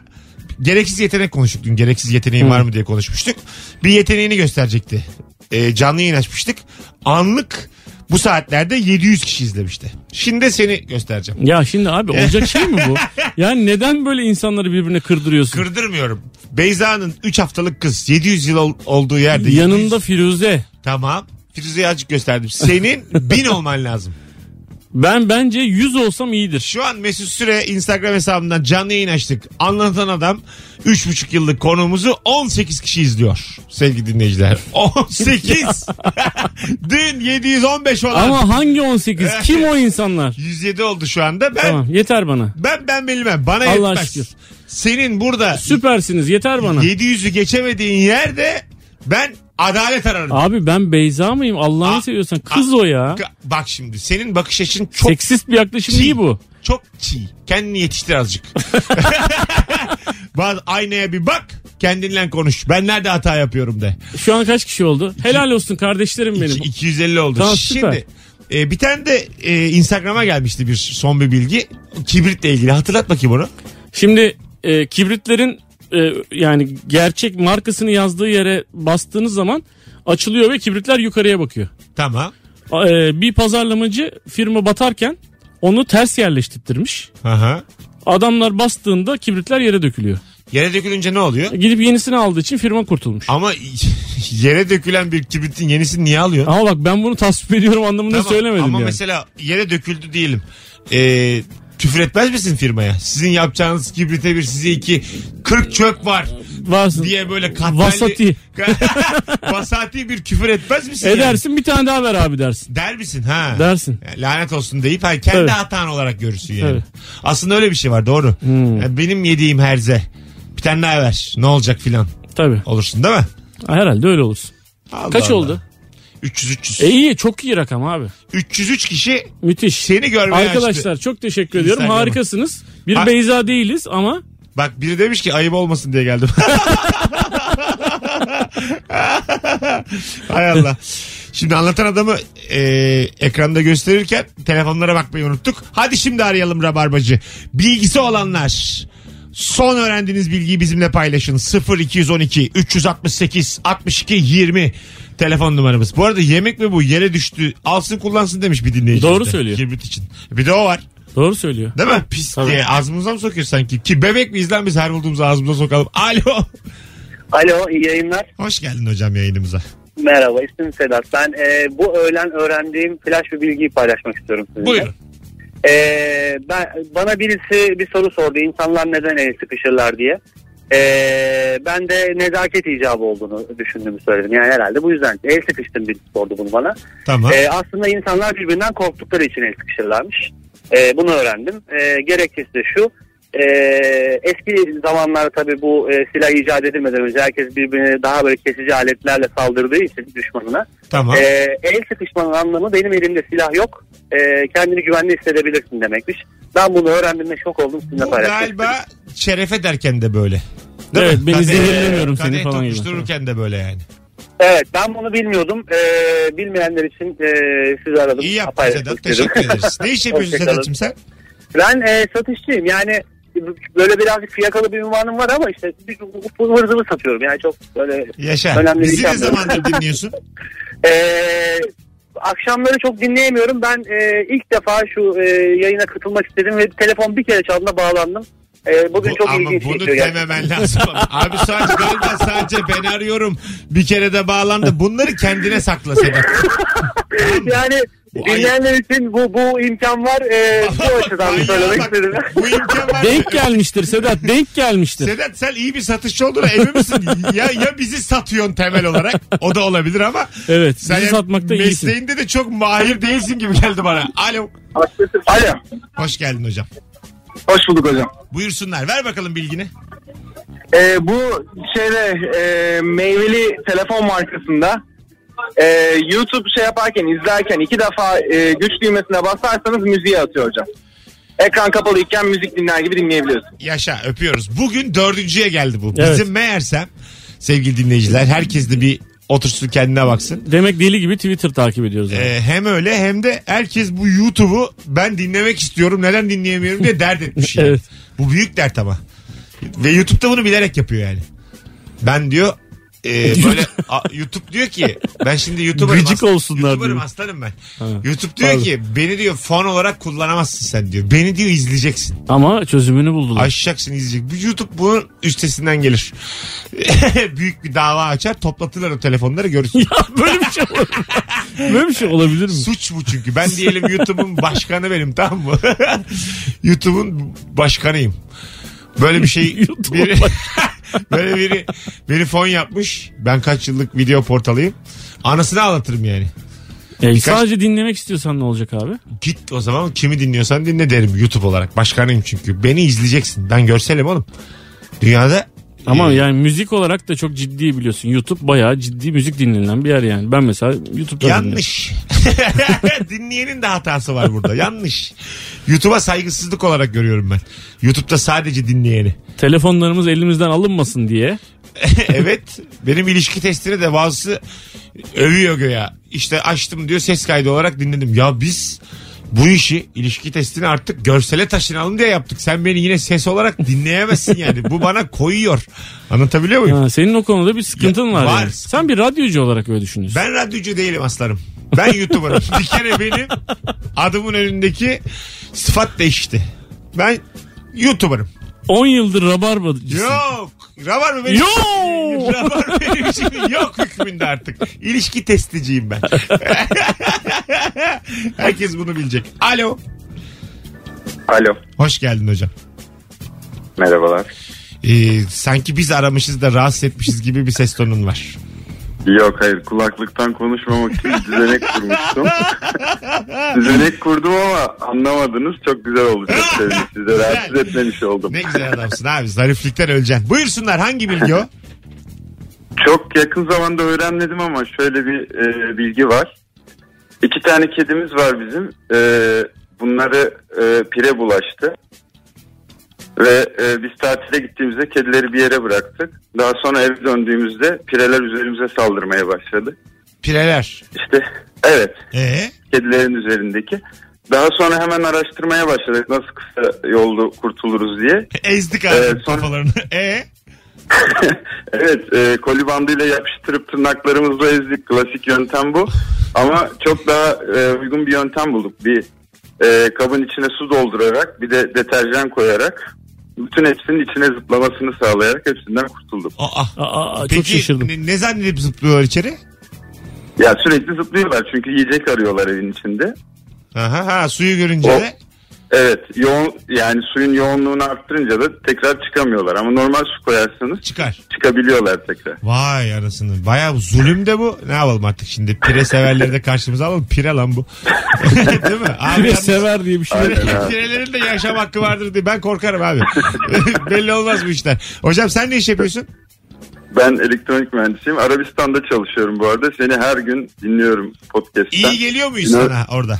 Speaker 2: gereksiz yetenek konuştuk dün. Gereksiz yeteneğin var mı diye konuşmuştuk. Bir yeteneğini gösterecekti. Ee, canlı yayın açmıştık. Anlık bu saatlerde 700 kişi izlemişti. Şimdi seni göstereceğim.
Speaker 3: Ya şimdi abi olacak şey mi bu? Yani neden böyle insanları birbirine kırdırıyorsun?
Speaker 2: Kırdırmıyorum. Beyza'nın 3 haftalık kız 700 yıl ol- olduğu yerde. 700
Speaker 3: Yanında Firuze.
Speaker 2: Tamam. Firuze'yi azıcık gösterdim. Senin bin olman lazım.
Speaker 3: Ben bence 100 olsam iyidir.
Speaker 2: Şu an Mesut Süre Instagram hesabından canlı yayın açtık. Anlatan adam 3,5 yıllık konuğumuzu 18 kişi izliyor. Sevgili dinleyiciler. 18. Dün 715 olan
Speaker 3: Ama hangi 18? Kim o insanlar?
Speaker 2: 107 oldu şu anda. Ben
Speaker 3: Tamam yeter bana.
Speaker 2: ben ben bilmem. Bana
Speaker 3: Allah
Speaker 2: yetmez.
Speaker 3: aşkına.
Speaker 2: Senin burada
Speaker 3: Süpersiniz yeter bana.
Speaker 2: 700'ü geçemediğin yerde ben adalet ararım.
Speaker 3: Abi ben Beyza mıyım? Allah'ını
Speaker 2: A-
Speaker 3: seviyorsan kız o ya.
Speaker 2: Ka- Bak şimdi senin bakış açın çok
Speaker 3: Seksist bir yaklaşım değil bu.
Speaker 2: Çok çiğ. Kendini yetiştir azıcık. Bazı aynaya bir bak. Kendinle konuş. Ben nerede hata yapıyorum de.
Speaker 3: Şu an kaç kişi oldu? Helal olsun kardeşlerim
Speaker 2: İki-
Speaker 3: benim.
Speaker 2: 250 oldu.
Speaker 3: Tamam, süper.
Speaker 2: Şimdi e, bir tane de e, Instagram'a gelmişti bir son bir bilgi. Kibritle ilgili. Hatırlat bakayım onu.
Speaker 3: Şimdi e, kibritlerin e, yani gerçek markasını yazdığı yere bastığınız zaman açılıyor ve kibritler yukarıya bakıyor.
Speaker 2: Tamam.
Speaker 3: A- e, bir pazarlamacı firma batarken onu ters yerleştirmiş.
Speaker 2: Aha.
Speaker 3: Adamlar bastığında kibritler yere dökülüyor.
Speaker 2: Yere dökülünce ne oluyor?
Speaker 3: Gidip yenisini aldığı için firma kurtulmuş.
Speaker 2: Ama yere dökülen bir kibritin yenisini niye alıyorsun?
Speaker 3: Ama bak ben bunu tasvip ediyorum anlamında
Speaker 2: Tamam,
Speaker 3: söylemedim
Speaker 2: Ama
Speaker 3: yani.
Speaker 2: mesela yere döküldü diyelim. Ee, küfür etmez misin firmaya? Sizin yapacağınız kibrite bir size iki 40 çöp var
Speaker 3: Varsın.
Speaker 2: diye böyle katmerli.
Speaker 3: Vasati.
Speaker 2: Vasati bir küfür etmez misin? yani?
Speaker 3: Edersin bir tane daha ver abi dersin.
Speaker 2: Der misin ha?
Speaker 3: Dersin.
Speaker 2: Yani Lanet olsun deyip hani kendi
Speaker 3: Tabii.
Speaker 2: hatan olarak görürsün yani.
Speaker 3: Tabii.
Speaker 2: Aslında öyle bir şey var doğru.
Speaker 3: Hmm.
Speaker 2: Yani benim yediğim herze. Bir tane daha ver. Ne olacak filan
Speaker 3: Tabii.
Speaker 2: olursun değil mi?
Speaker 3: Herhalde öyle olursun.
Speaker 2: Allah
Speaker 3: Kaç
Speaker 2: Allah.
Speaker 3: oldu?
Speaker 2: 300 300.
Speaker 3: E iyi çok iyi rakam abi.
Speaker 2: 303 kişi
Speaker 3: Müthiş.
Speaker 2: seni görmeye açtı.
Speaker 3: Arkadaşlar çok teşekkür ediyorum.
Speaker 2: Instagram'a.
Speaker 3: Harikasınız. Bir
Speaker 2: Ha-
Speaker 3: Beyza değiliz ama
Speaker 2: Bak biri demiş ki ayıp olmasın diye geldim. Hay Allah. Şimdi anlatan adamı e, ekranda gösterirken telefonlara bakmayı unuttuk. Hadi şimdi arayalım Rabarbacı. Bilgisi olanlar son öğrendiğiniz bilgiyi bizimle paylaşın. 0212 368 62 20 telefon numaramız. Bu arada yemek mi bu yere düştü alsın kullansın demiş bir dinleyici.
Speaker 3: Doğru
Speaker 2: bize.
Speaker 3: söylüyor.
Speaker 2: Kibrit için. Bir de o var.
Speaker 3: doğru söylüyor.
Speaker 2: Değil mi? Pis
Speaker 3: Tabii.
Speaker 2: diye ağzımıza mı sokuyor sanki? Ki bebek miyiz lan biz her bulduğumuzu ağzımıza sokalım. Alo.
Speaker 11: Alo iyi yayınlar.
Speaker 2: Hoş geldin hocam yayınımıza.
Speaker 11: Merhaba ismim Sedat. Ben e, bu öğlen öğrendiğim flash bir bilgiyi paylaşmak istiyorum sizinle.
Speaker 2: Buyurun.
Speaker 11: Ee, ben, bana birisi bir soru sordu. İnsanlar neden el sıkışırlar diye. Ee, ben de nezaket icabı olduğunu düşündüğümü söyledim. Yani herhalde bu yüzden el sıkıştım bir sordu bunu bana.
Speaker 2: Tamam.
Speaker 11: Ee, aslında insanlar birbirinden korktukları için el sıkışırlarmış. Ee, bunu öğrendim. Ee, gerekçesi de şu. ee, eski zamanlarda tabii bu e, silah icat edilmeden önce herkes birbirini daha böyle kesici aletlerle saldırdığı için düşmanına.
Speaker 2: tamam.
Speaker 11: Ee, el sıkışmanın anlamı benim elimde silah yok. Ee, kendini güvenli hissedebilirsin demekmiş. Ben bunu öğrendiğimde şok oldum sizinle
Speaker 2: Bu
Speaker 11: paylaşmak istedim.
Speaker 2: galiba şeref ederken de böyle. Değil
Speaker 3: Evet,
Speaker 2: mi?
Speaker 3: beni
Speaker 2: Kadeh-
Speaker 3: zehirlemiyorum
Speaker 2: kadeh
Speaker 3: seni falan gibi.
Speaker 2: tokuştururken de böyle yani.
Speaker 11: Evet ben bunu bilmiyordum. Ee, bilmeyenler için e, sizi aradım.
Speaker 2: İyi yaptın
Speaker 11: Paylaşmak
Speaker 2: Sedat.
Speaker 11: istedim.
Speaker 2: Teşekkür ederiz. Ne iş yapıyorsun
Speaker 11: Hoşçakalın.
Speaker 2: Sedat'cığım sen?
Speaker 11: Ben e, satışçıyım yani böyle birazcık fiyakalı bir ünvanım var ama işte bir- bu hırzımı satıyorum. Yani çok böyle
Speaker 2: Yaşa.
Speaker 11: Önemli bir
Speaker 2: Bizi ne
Speaker 11: şey
Speaker 2: zamandır dinliyorsun?
Speaker 11: Ee, akşamları çok dinleyemiyorum. Ben e, ilk defa şu e, yayına katılmak istedim ve telefon bir kere çaldığında bağlandım. E, bugün
Speaker 2: Bu-
Speaker 11: çok
Speaker 2: ama
Speaker 11: ilginç şey.
Speaker 2: bunu
Speaker 11: geçiyor. gerçekten.
Speaker 2: dememen lazım. Abi sadece galiba sadece ben arıyorum. Bir kere de bağlandı. Bunları kendine sakla Sedat.
Speaker 11: Yani
Speaker 2: Bu
Speaker 11: dinleyenler için bu bu imkan var. E, bu açıdan
Speaker 2: Manyağa
Speaker 11: söylemek
Speaker 2: bak.
Speaker 11: istedim.
Speaker 2: Bu imkan var.
Speaker 3: Denk gelmiştir Sedat denk gelmiştir.
Speaker 2: Sedat sen iyi bir satışçı olduğuna emin misin? ya ya bizi satıyorsun temel olarak. O da olabilir ama.
Speaker 3: Evet
Speaker 2: Sen
Speaker 3: bizi satmakta
Speaker 2: mesleğinde
Speaker 3: iyisin.
Speaker 2: de çok mahir değilsin gibi geldi bana. Alo.
Speaker 10: Alo.
Speaker 2: Hoş geldin hocam.
Speaker 10: Hoş bulduk hocam.
Speaker 2: Buyursunlar. Ver bakalım bilgini.
Speaker 10: Ee, bu şeyde e, meyveli telefon markasında e, YouTube şey yaparken izlerken iki defa e, güç düğmesine basarsanız müziğe atıyor hocam. Ekran kapalı iken müzik dinler gibi dinleyebiliyorsun.
Speaker 2: Yaşa öpüyoruz. Bugün dördüncüye geldi bu.
Speaker 3: Evet.
Speaker 2: Bizim meğersem sevgili dinleyiciler herkes de bir otursun kendine baksın.
Speaker 3: Demek deli gibi Twitter takip ediyoruz. yani.
Speaker 2: Ee, hem öyle hem de herkes bu YouTube'u ben dinlemek istiyorum neden dinleyemiyorum diye dert etmiş. yani.
Speaker 3: Evet.
Speaker 2: Bu büyük dert ama. Ve YouTube'da bunu bilerek yapıyor yani. Ben diyor e, böyle a, YouTube diyor ki ben şimdi YouTuber'ım
Speaker 3: Gıcık
Speaker 2: aslan-
Speaker 3: olsunlar
Speaker 2: YouTuber'ım
Speaker 3: diyor.
Speaker 2: aslanım ben. YouTube diyor ki beni diyor fon olarak kullanamazsın sen diyor. Beni diyor izleyeceksin.
Speaker 3: Ama çözümünü buldular.
Speaker 2: Aşacaksın izleyecek. Bu YouTube bunun üstesinden gelir. Büyük bir dava açar toplatırlar o telefonları görürsün.
Speaker 3: Böyle bir şey olabilir mi? Böyle bir şey olabilir mi?
Speaker 2: Suç bu çünkü. Ben diyelim YouTube'un başkanı benim tamam mı? YouTube'un başkanıyım. Böyle bir şey
Speaker 3: YouTube'un
Speaker 2: biri, böyle biri beni fon yapmış. Ben kaç yıllık video portalıyım. Anasını ağlatırım yani.
Speaker 3: Ya Sadece dinlemek istiyorsan ne olacak abi?
Speaker 2: Git o zaman kimi dinliyorsan dinle derim YouTube olarak. Başkanıyım çünkü. Beni izleyeceksin. Ben görselim oğlum. Dünyada
Speaker 3: Ama
Speaker 2: e,
Speaker 3: yani müzik olarak da çok ciddi biliyorsun. YouTube bayağı ciddi müzik dinlenen bir yer yani. Ben mesela YouTube'da
Speaker 2: Yanlış. Dinleyenin de hatası var burada. Yanlış. YouTube'a saygısızlık olarak görüyorum ben. YouTube'da sadece dinleyeni.
Speaker 3: dinliyorum. Telefonlarımız elimizden alınmasın diye.
Speaker 2: evet. Benim ilişki testini de bazısı övüyor göya. İşte açtım diyor ses kaydı olarak dinledim. Ya biz bu işi ilişki testini artık görsele taşınalım diye yaptık. Sen beni yine ses olarak dinleyemezsin yani. Bu bana koyuyor. Anlatabiliyor muyum?
Speaker 3: Ha, senin o konuda bir sıkıntın
Speaker 2: Ya,
Speaker 3: var.
Speaker 2: var.
Speaker 3: yani. Sen bir radyocu olarak öyle düşünüyorsun.
Speaker 2: Ben radyocu değilim aslanım. Ben YouTuber'ım. bir kere benim adımın önündeki sıfat değişti. Ben YouTuber'ım.
Speaker 3: 10 yıldır rabarbacısın.
Speaker 2: Yok. Rabar mı benim?
Speaker 3: Yo!
Speaker 2: Rabar benim şimdi yok hükmünde artık. İlişki testiciyim ben. Herkes bunu bilecek. Alo.
Speaker 8: Alo.
Speaker 2: Hoş geldin hocam.
Speaker 8: Merhabalar.
Speaker 2: Ee, sanki biz aramışız da rahatsız etmişiz gibi bir ses tonun var.
Speaker 8: Yok hayır kulaklıktan konuşmamak için bir düzenek kurmuştum. düzenek kurdum ama anlamadınız. Çok güzel oldu. Çok sevindim. Size rahatsız etmemiş oldum.
Speaker 2: Ne güzel adamsın abi. Zariflikten öleceksin. Buyursunlar hangi bilgi o?
Speaker 8: Çok yakın zamanda öğrenmedim ama şöyle bir e, bilgi var. İki tane kedimiz var bizim. E, bunları e, pire bulaştı. Ve e, biz tatile gittiğimizde kedileri bir yere bıraktık. Daha sonra eve döndüğümüzde pireler üzerimize saldırmaya başladı.
Speaker 2: Pireler.
Speaker 8: İşte evet
Speaker 2: Ee?
Speaker 8: kedilerin üzerindeki. Daha sonra hemen araştırmaya başladık nasıl kısa yolda kurtuluruz diye.
Speaker 2: Ezdik abi
Speaker 8: Evet, sonra-
Speaker 2: kafalarını. Ee?
Speaker 8: evet e, koli bandıyla yapıştırıp tırnaklarımızla ezdik klasik yöntem bu. Ama çok daha e, uygun bir yöntem bulduk. Bir e, kabın içine su doldurarak bir de deterjan koyarak bütün hepsinin içine zıplamasını sağlayarak hepsinden kurtulduk.
Speaker 2: Aa.
Speaker 3: Aa, çok
Speaker 2: Peki
Speaker 3: şaşırdım.
Speaker 2: ne, ne zannedip zıplıyorlar içeri?
Speaker 8: Ya sürekli zıplıyorlar çünkü yiyecek arıyorlar evin içinde.
Speaker 2: Aha, ha, suyu görünce
Speaker 8: O-
Speaker 2: de.
Speaker 8: Evet yoğun yani suyun yoğunluğunu arttırınca da tekrar çıkamıyorlar ama normal su koyarsanız
Speaker 2: Çıkar.
Speaker 8: çıkabiliyorlar tekrar.
Speaker 2: Vay anasını. Bayağı zulüm de bu. Ne yapalım artık şimdi? Pire severleri de karşımıza alalım. Pire lan bu. Değil mi? Abi,
Speaker 3: Pire
Speaker 2: yalnız-
Speaker 3: sever diye bir şey.
Speaker 8: Aynen.
Speaker 2: Pire- Pirelerin de yaşam hakkı vardır diye. Ben korkarım abi. Belli olmaz bu işler. Hocam sen ne iş yapıyorsun?
Speaker 8: Ben elektronik mühendisiyim. Arabistan'da çalışıyorum bu arada. Seni her gün dinliyorum podcast'ten.
Speaker 2: İyi geliyor muyuz
Speaker 8: Ne-
Speaker 2: sana orada?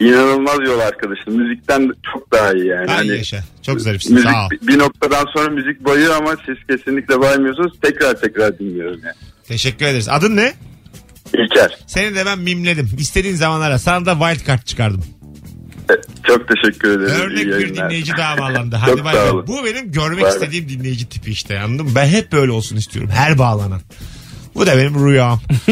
Speaker 8: İnanılmaz yol arkadaşım. Müzikten çok daha iyi yani.
Speaker 2: Ay
Speaker 8: Hani
Speaker 2: yaşa. Çok zarifsin.
Speaker 8: müzik
Speaker 2: Sağ ol.
Speaker 8: bir noktadan sonra müzik bayıyor ama siz kesinlikle baymıyorsunuz. Tekrar tekrar dinliyorum yani.
Speaker 2: Teşekkür ederiz. Adın ne?
Speaker 8: İlker.
Speaker 2: Seni de ben mimledim. İstediğin zaman ara. Sana da wild card çıkardım.
Speaker 8: e, Çok teşekkür ederim.
Speaker 2: Örnek
Speaker 8: İyi
Speaker 2: bir
Speaker 8: Ee, yayınlar.
Speaker 2: dinleyici daha bağlandı.
Speaker 8: Çok
Speaker 2: Hadi bay
Speaker 8: sağ
Speaker 2: bay.
Speaker 8: olun.
Speaker 2: Bu benim görmek
Speaker 8: Bay bay.
Speaker 2: istediğim dinleyici tipi işte anladın mı? Ben hep böyle olsun istiyorum. Her bağlanan. Bu da benim rüyam.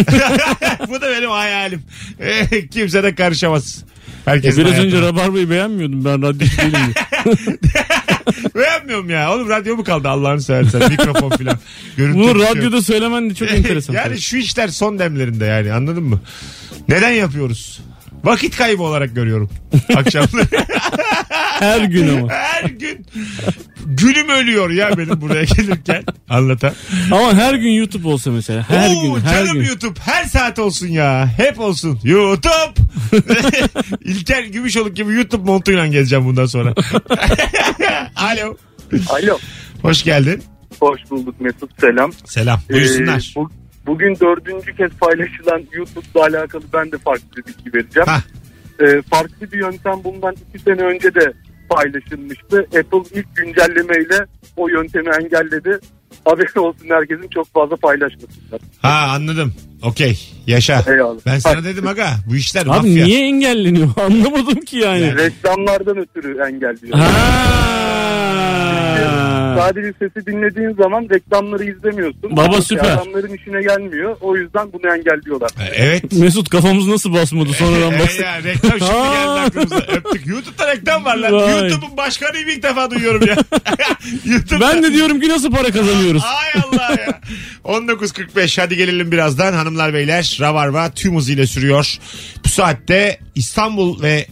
Speaker 2: Bu da benim hayalim. Eh, Kimse de karışamaz. Herkes
Speaker 3: Biraz önce rabarbayı beğenmiyordum ben radyocu değilim diye.
Speaker 2: Beğenmiyorum ya. Oğlum radyo mu kaldı Allah'ını seversen? Mikrofon filan. Görüntü
Speaker 3: Bunu
Speaker 2: bir şey yok.
Speaker 3: radyoda söylemen de çok enteresan.
Speaker 2: yani şu işler son demlerinde yani anladın mı? Neden yapıyoruz? Vakit kaybı olarak görüyorum. Akşamları.
Speaker 3: Her gün ama.
Speaker 2: Her gün gülüm ölüyor ya benim buraya gelirken. Anlatan.
Speaker 3: Ama her gün YouTube olsa mesela. Her
Speaker 2: Oo,
Speaker 3: gün, her
Speaker 2: canım
Speaker 3: gün.
Speaker 2: YouTube her saat olsun ya. Hep olsun. YouTube. İlker Gümüşoluk gibi YouTube montuyla gezeceğim bundan sonra. Alo.
Speaker 7: Alo.
Speaker 2: Hoş geldin.
Speaker 7: Hoş bulduk Mesut selam.
Speaker 2: Selam.
Speaker 7: Ee,
Speaker 2: Buyursunlar.
Speaker 7: bu- bugün dördüncü kez paylaşılan YouTube'la alakalı ben de farklı bir bilgi vereceğim.
Speaker 2: Hah.
Speaker 7: Ee, farklı bir yöntem bundan iki sene önce de paylaşılmıştı. Apple ilk güncellemeyle o yöntemi engelledi. Haber olsun herkesin çok fazla paylaşmasınlar.
Speaker 2: Ha anladım. Okey. Yaşa.
Speaker 7: Eyvallah.
Speaker 2: Ben sana
Speaker 7: Ha.
Speaker 2: dedim aga bu işler
Speaker 3: Abi
Speaker 2: mafya.
Speaker 3: niye engelleniyor? Anlamadım ki yani.
Speaker 7: Reklamlardan ötürü engelliyor.
Speaker 3: Ha. Ha.
Speaker 7: Sadece sesi dinlediğin zaman reklamları izlemiyorsun.
Speaker 3: Baba süper.
Speaker 7: Adamların işine gelmiyor. O yüzden bunu engelliyorlar.
Speaker 2: Evet.
Speaker 3: Mesut kafamız nasıl basmadı sonradan
Speaker 2: Ee,
Speaker 3: bastık.
Speaker 2: ya, reklam şimdi geldi
Speaker 3: Aa.
Speaker 2: aklımıza. Öptük. YouTube'da reklam var lan.
Speaker 3: Vay.
Speaker 2: YouTube'un başkanı ilk defa duyuyorum ya. YouTube'da.
Speaker 3: Ben de diyorum ki nasıl para kazanıyoruz.
Speaker 2: Ay Allah ya. 19.45 hadi gelelim birazdan hanımlar beyler. Rabarba tüm hızıyla sürüyor. Bu saatte İstanbul ve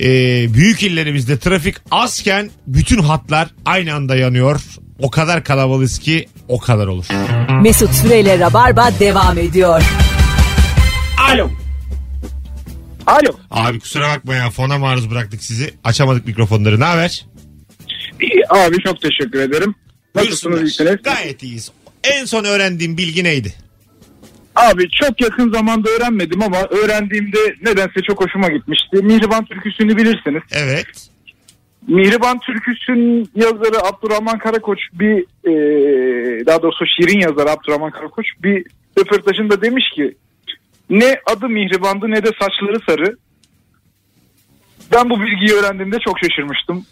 Speaker 2: e, büyük illerimizde trafik azken bütün hatlar aynı anda yanıyor. O kadar kalabalığız ki o kadar olur.
Speaker 1: Mesut Süreyle Rabarba devam ediyor.
Speaker 7: Alo. Alo.
Speaker 2: Abi kusura bakma ya fona maruz bıraktık sizi. Açamadık mikrofonları. Ne haber?
Speaker 12: İyi, Abi çok teşekkür ederim. Nasılsınız
Speaker 2: Buyursunlar.
Speaker 12: iyisiniz?
Speaker 2: Gayet iyiyiz. En son öğrendiğin bilgi neydi?
Speaker 12: Abi çok yakın zamanda öğrenmedim ama öğrendiğimde nedense çok hoşuma gitmişti. Mihriban türküsünü bilirsiniz.
Speaker 2: Evet.
Speaker 12: Mihriban türküsünün yazarı Abdurrahman Karakoç bir e, daha doğrusu şiirin yazarı Abdurrahman Karakoç bir röportajında demiş ki ne adı Mihriban'dı ne de saçları sarı. Ben bu bilgiyi öğrendiğimde çok şaşırmıştım.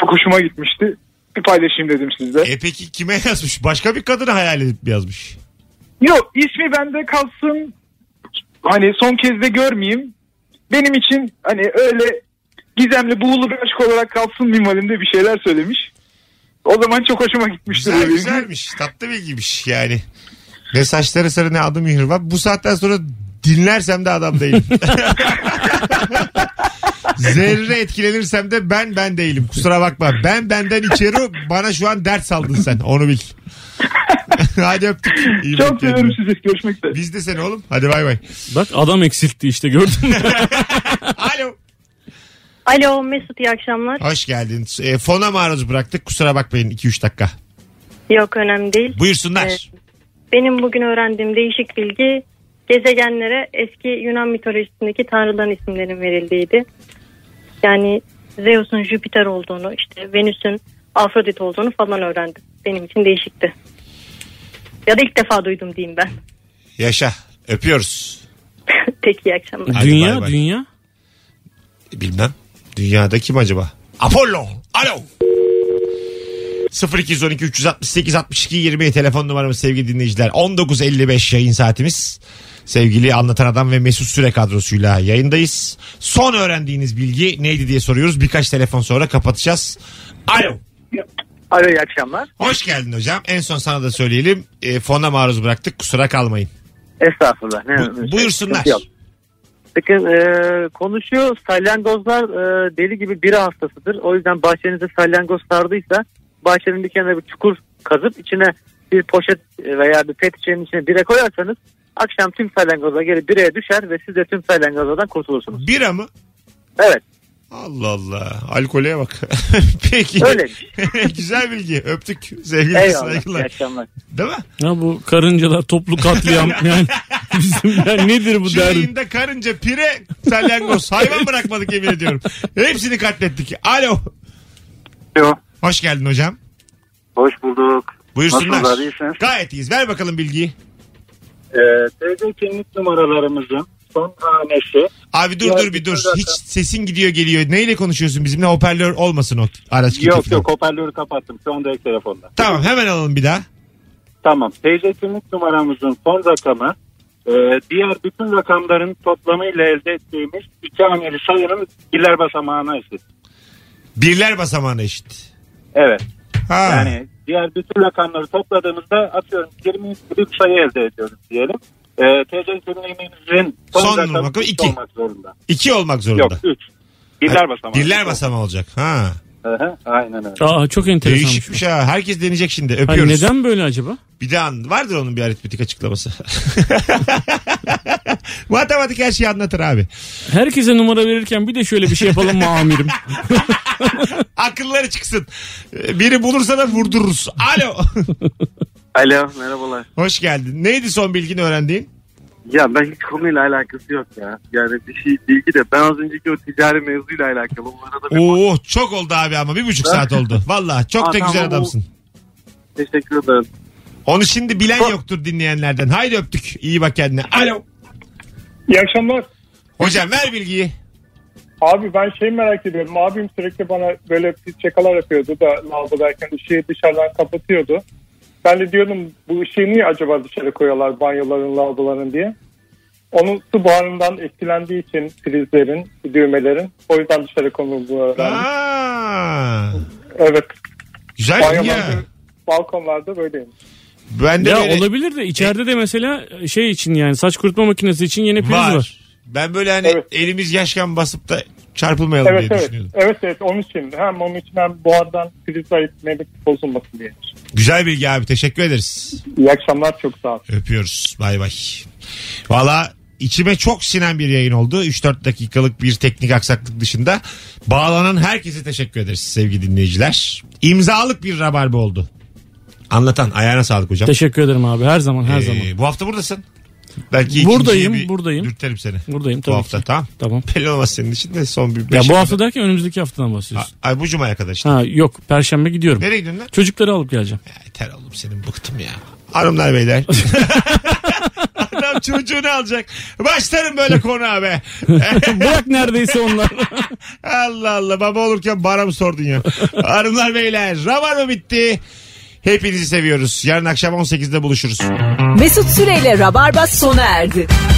Speaker 12: Çok hoşuma gitmişti. Bir paylaşayım dedim sizle.
Speaker 2: E peki kime yazmış? Başka bir kadını hayal edip mi yazmış.
Speaker 12: Yok ismi bende kalsın. Hani son kez de görmeyeyim. Benim için hani öyle gizemli buğulu bir aşk olarak kalsın minvalinde bir şeyler söylemiş. O zaman çok hoşuma gitmişti. bu
Speaker 2: Güzel,
Speaker 12: bilgi.
Speaker 2: güzelmiş. Tatlı bilgiymiş yani. Ve saçları sarı ne adı mihriban. Bu saatten sonra dinlersem de adam değilim. Zerre etkilenirsem de ben ben değilim. Kusura bakma. Ben benden içeri bana şu an dert saldın sen. Onu bil. Hadi öptük. İyi bak
Speaker 12: Çok
Speaker 2: kendine.
Speaker 12: seviyorum sizi. Görüşmek üzere.
Speaker 2: Biz de seni oğlum. Hadi bay bay.
Speaker 3: Bak adam eksiltti işte gördün mü?
Speaker 2: Alo.
Speaker 5: Alo Mesut iyi akşamlar.
Speaker 2: Hoş geldin. E, fona maruz bıraktık. Kusura bakmayın 2-3 dakika.
Speaker 5: Yok önemli değil.
Speaker 2: Buyursunlar.
Speaker 5: Evet. Benim bugün öğrendiğim değişik bilgi gezegenlere eski Yunan mitolojisindeki tanrıların isimlerinin verildiğiydi. Yani Zeus'un Jüpiter olduğunu, işte Venüs'ün Afrodit olduğunu falan öğrendim. Benim için değişikti. Ya da ilk defa duydum diyeyim ben.
Speaker 2: Yaşa. Öpüyoruz.
Speaker 5: Peki iyi akşamlar.
Speaker 2: Hadi bay
Speaker 3: dünya
Speaker 2: bay.
Speaker 3: dünya.
Speaker 2: Bilmem. Dünyada kim acaba? Apollo. Alo. 0212 368 62 20 telefon numaramız sevgili dinleyiciler. 19.55 yayın saatimiz. Sevgili Anlatan Adam ve Mesut Süre kadrosuyla yayındayız. Son öğrendiğiniz bilgi neydi diye soruyoruz. Birkaç telefon sonra kapatacağız. Alo.
Speaker 7: Alo iyi akşamlar.
Speaker 2: Hoş geldin hocam. En son sana da söyleyelim. E, fona maruz bıraktık. Kusura kalmayın.
Speaker 7: Estağfurullah. Ne,
Speaker 2: Bu-
Speaker 7: şey,
Speaker 2: buyursunlar.
Speaker 7: sıkıntı yok. Bakın e, konuşuyor salyangozlar e, deli gibi bira hastasıdır. O yüzden bahçenize salyangoz sardıysa bahçenin bir kenarına bir çukur kazıp içine bir poşet veya bir pet şişenin içine bira koyarsanız akşam tüm salyangozlar geri biraya düşer ve siz de tüm salyangozlardan kurtulursunuz.
Speaker 2: Bira mı?
Speaker 7: Evet.
Speaker 2: Allah Allah. Alkoleye bak. Peki.
Speaker 7: Öyle.
Speaker 2: Güzel bilgi. Öptük. Sevgili
Speaker 7: Eyvallah. İyi
Speaker 2: saygılar.
Speaker 7: akşamlar.
Speaker 2: Değil mi?
Speaker 3: Ya bu karıncalar toplu katliam yani bizim yani nedir bu
Speaker 2: Şu
Speaker 3: derdim?
Speaker 2: yayında karınca, pire, salyangoz. Hayvan bırakmadık yemin ediyorum. Hepsini katlettik. Alo.
Speaker 9: Alo.
Speaker 2: Hoş geldin hocam.
Speaker 9: Hoş bulduk.
Speaker 2: Buyursunlar.
Speaker 9: Nasılsınız, iyisiniz?
Speaker 2: Gayet iyiyiz. Ver bakalım bilgiyi.
Speaker 7: TC kimlik numaralarımızın son hanesi.
Speaker 2: Abi dur
Speaker 7: Ya,
Speaker 2: dur bir dur.
Speaker 7: zaten.
Speaker 2: Hiç sesin gidiyor geliyor. Neyle konuşuyorsun bizimle? Hoparlör olmasın o araçki telefon.
Speaker 7: hoparlörü kapattım. Şu anda telefonda.
Speaker 2: Tamam hemen alalım bir daha.
Speaker 7: Tamam. TC kimlik numaramızın son rakamı e, diğer bütün rakamların toplamıyla elde ettiğimiz iki haneli sayının birler basamağına eşit.
Speaker 2: Birler basamağına eşit.
Speaker 7: Evet.
Speaker 2: Ha.
Speaker 7: Yani diğer bütün rakamları topladığımızda atıyorum 20 gibi bir sayı elde ediyoruz diyelim. E, TC kimliğimizin son,
Speaker 2: Son
Speaker 7: rakamı
Speaker 2: rakamı
Speaker 7: üç
Speaker 2: iki.
Speaker 7: olmak zorunda.
Speaker 2: İki olmak zorunda.
Speaker 7: Yok 3. Birler
Speaker 2: Ha,
Speaker 7: basamağı.
Speaker 2: Birler basamağı olacak. Ha.
Speaker 7: Hı hı, Aynen öyle.
Speaker 3: Aa çok enteresan.
Speaker 2: Değişikmiş ha. Herkes deneyecek şimdi. Öpüyoruz.
Speaker 3: Hani neden böyle acaba?
Speaker 2: Bir de an vardır onun bir aritmetik açıklaması. Matematik her şeyi anlatır abi.
Speaker 3: Herkese numara verirken bir de şöyle bir şey yapalım mı amirim?
Speaker 2: Akılları çıksın. Ee, Biri bulursa da vurdururuz. Alo.
Speaker 9: Alo merhabalar.
Speaker 2: Hoş geldin. Neydi son bilgini öğrendiğin?
Speaker 9: Ya ben hiç konuyla alakası yok ya. Yani bir şey bilgi de ben az önceki o ticari mevzuyla alakalı. Onlara da bir
Speaker 2: Oo çok oldu abi ama bir buçuk saat oldu. Valla çok
Speaker 9: Aa,
Speaker 2: da güzel
Speaker 9: tamam, o-
Speaker 2: adamsın.
Speaker 9: teşekkür ederim.
Speaker 2: Onu şimdi bilen yoktur dinleyenlerden. Haydi öptük. İyi bak kendine. Alo.
Speaker 12: İyi akşamlar.
Speaker 2: Hocam ver bilgiyi.
Speaker 13: Abi ben şey merak ediyorum. Abim sürekli bana böyle pis şakalar yapıyordu da lavabodayken ışığı dışarıdan kapatıyordu. Ben de diyordum bu ışığı niye acaba dışarı koyuyorlar banyoların lavaboların diye. Onun su buharından etkilendiği için prizlerin, düğmelerin o yüzden dışarı konulduğu öğrendim.
Speaker 2: Aa,
Speaker 13: Evet.
Speaker 2: güzel ya.
Speaker 13: Banyolarda, balkonlarda böyleymiş.
Speaker 2: Ben de
Speaker 3: Ya
Speaker 2: böyle
Speaker 3: olabilir de içeride de mesela şey için yani saç kurutma makinesi için yeni priz şey var.
Speaker 2: var. Ben böyle hani
Speaker 13: Evet.
Speaker 2: elimiz yaşken basıp da çarpılmayalım
Speaker 13: Evet
Speaker 2: diye
Speaker 13: evet.
Speaker 2: düşünüyordum.
Speaker 13: Evet evet onun için. Hem onun için hem buhardan priz ayıtmaylık bozulmasın diye.
Speaker 2: Güzel bilgi abi teşekkür ederiz.
Speaker 13: İyi akşamlar çok sağ ol.
Speaker 2: Öpüyoruz bay bay. Valla içime çok sinen bir yayın oldu. 3-4 dakikalık bir teknik aksaklık dışında. Bağlanan herkese teşekkür ederiz sevgili dinleyiciler. İmzalık bir rabarba oldu. Anlatan ayağına sağlık hocam.
Speaker 3: Teşekkür ederim abi her zaman her
Speaker 2: Ee,
Speaker 3: zaman.
Speaker 2: Bu hafta buradasın. Belki ikinciyi
Speaker 3: Buradayım,
Speaker 2: bir
Speaker 3: buradayım.
Speaker 2: Dürtelim seni.
Speaker 3: Buradayım
Speaker 2: bu
Speaker 3: tabii
Speaker 2: hafta
Speaker 3: ki.
Speaker 2: tamam.
Speaker 3: Tamam.
Speaker 2: Belli olmaz senin için de son bir
Speaker 3: Ya
Speaker 2: beş
Speaker 3: bu
Speaker 2: hafta-
Speaker 3: hafta derken önümüzdeki haftadan bahsediyorsun.
Speaker 2: Ay bu cumaya kadar işte.
Speaker 3: Ha yok perşembe gidiyorum.
Speaker 2: Nereye gidiyorsun lan?
Speaker 3: Çocukları alıp geleceğim.
Speaker 2: Ya yeter oğlum senin bıktım ya. Hanımlar beyler. Adam çocuğunu alacak. Başlarım böyle konu abi.
Speaker 3: Bırak neredeyse onlar.
Speaker 2: Allah Allah baba olurken bana mı sordun ya? Hanımlar beyler rabar mı bitti? Hepinizi seviyoruz. Yarın akşam 18'de buluşuruz.
Speaker 1: Mesut Süreyle Rabarba sona erdi.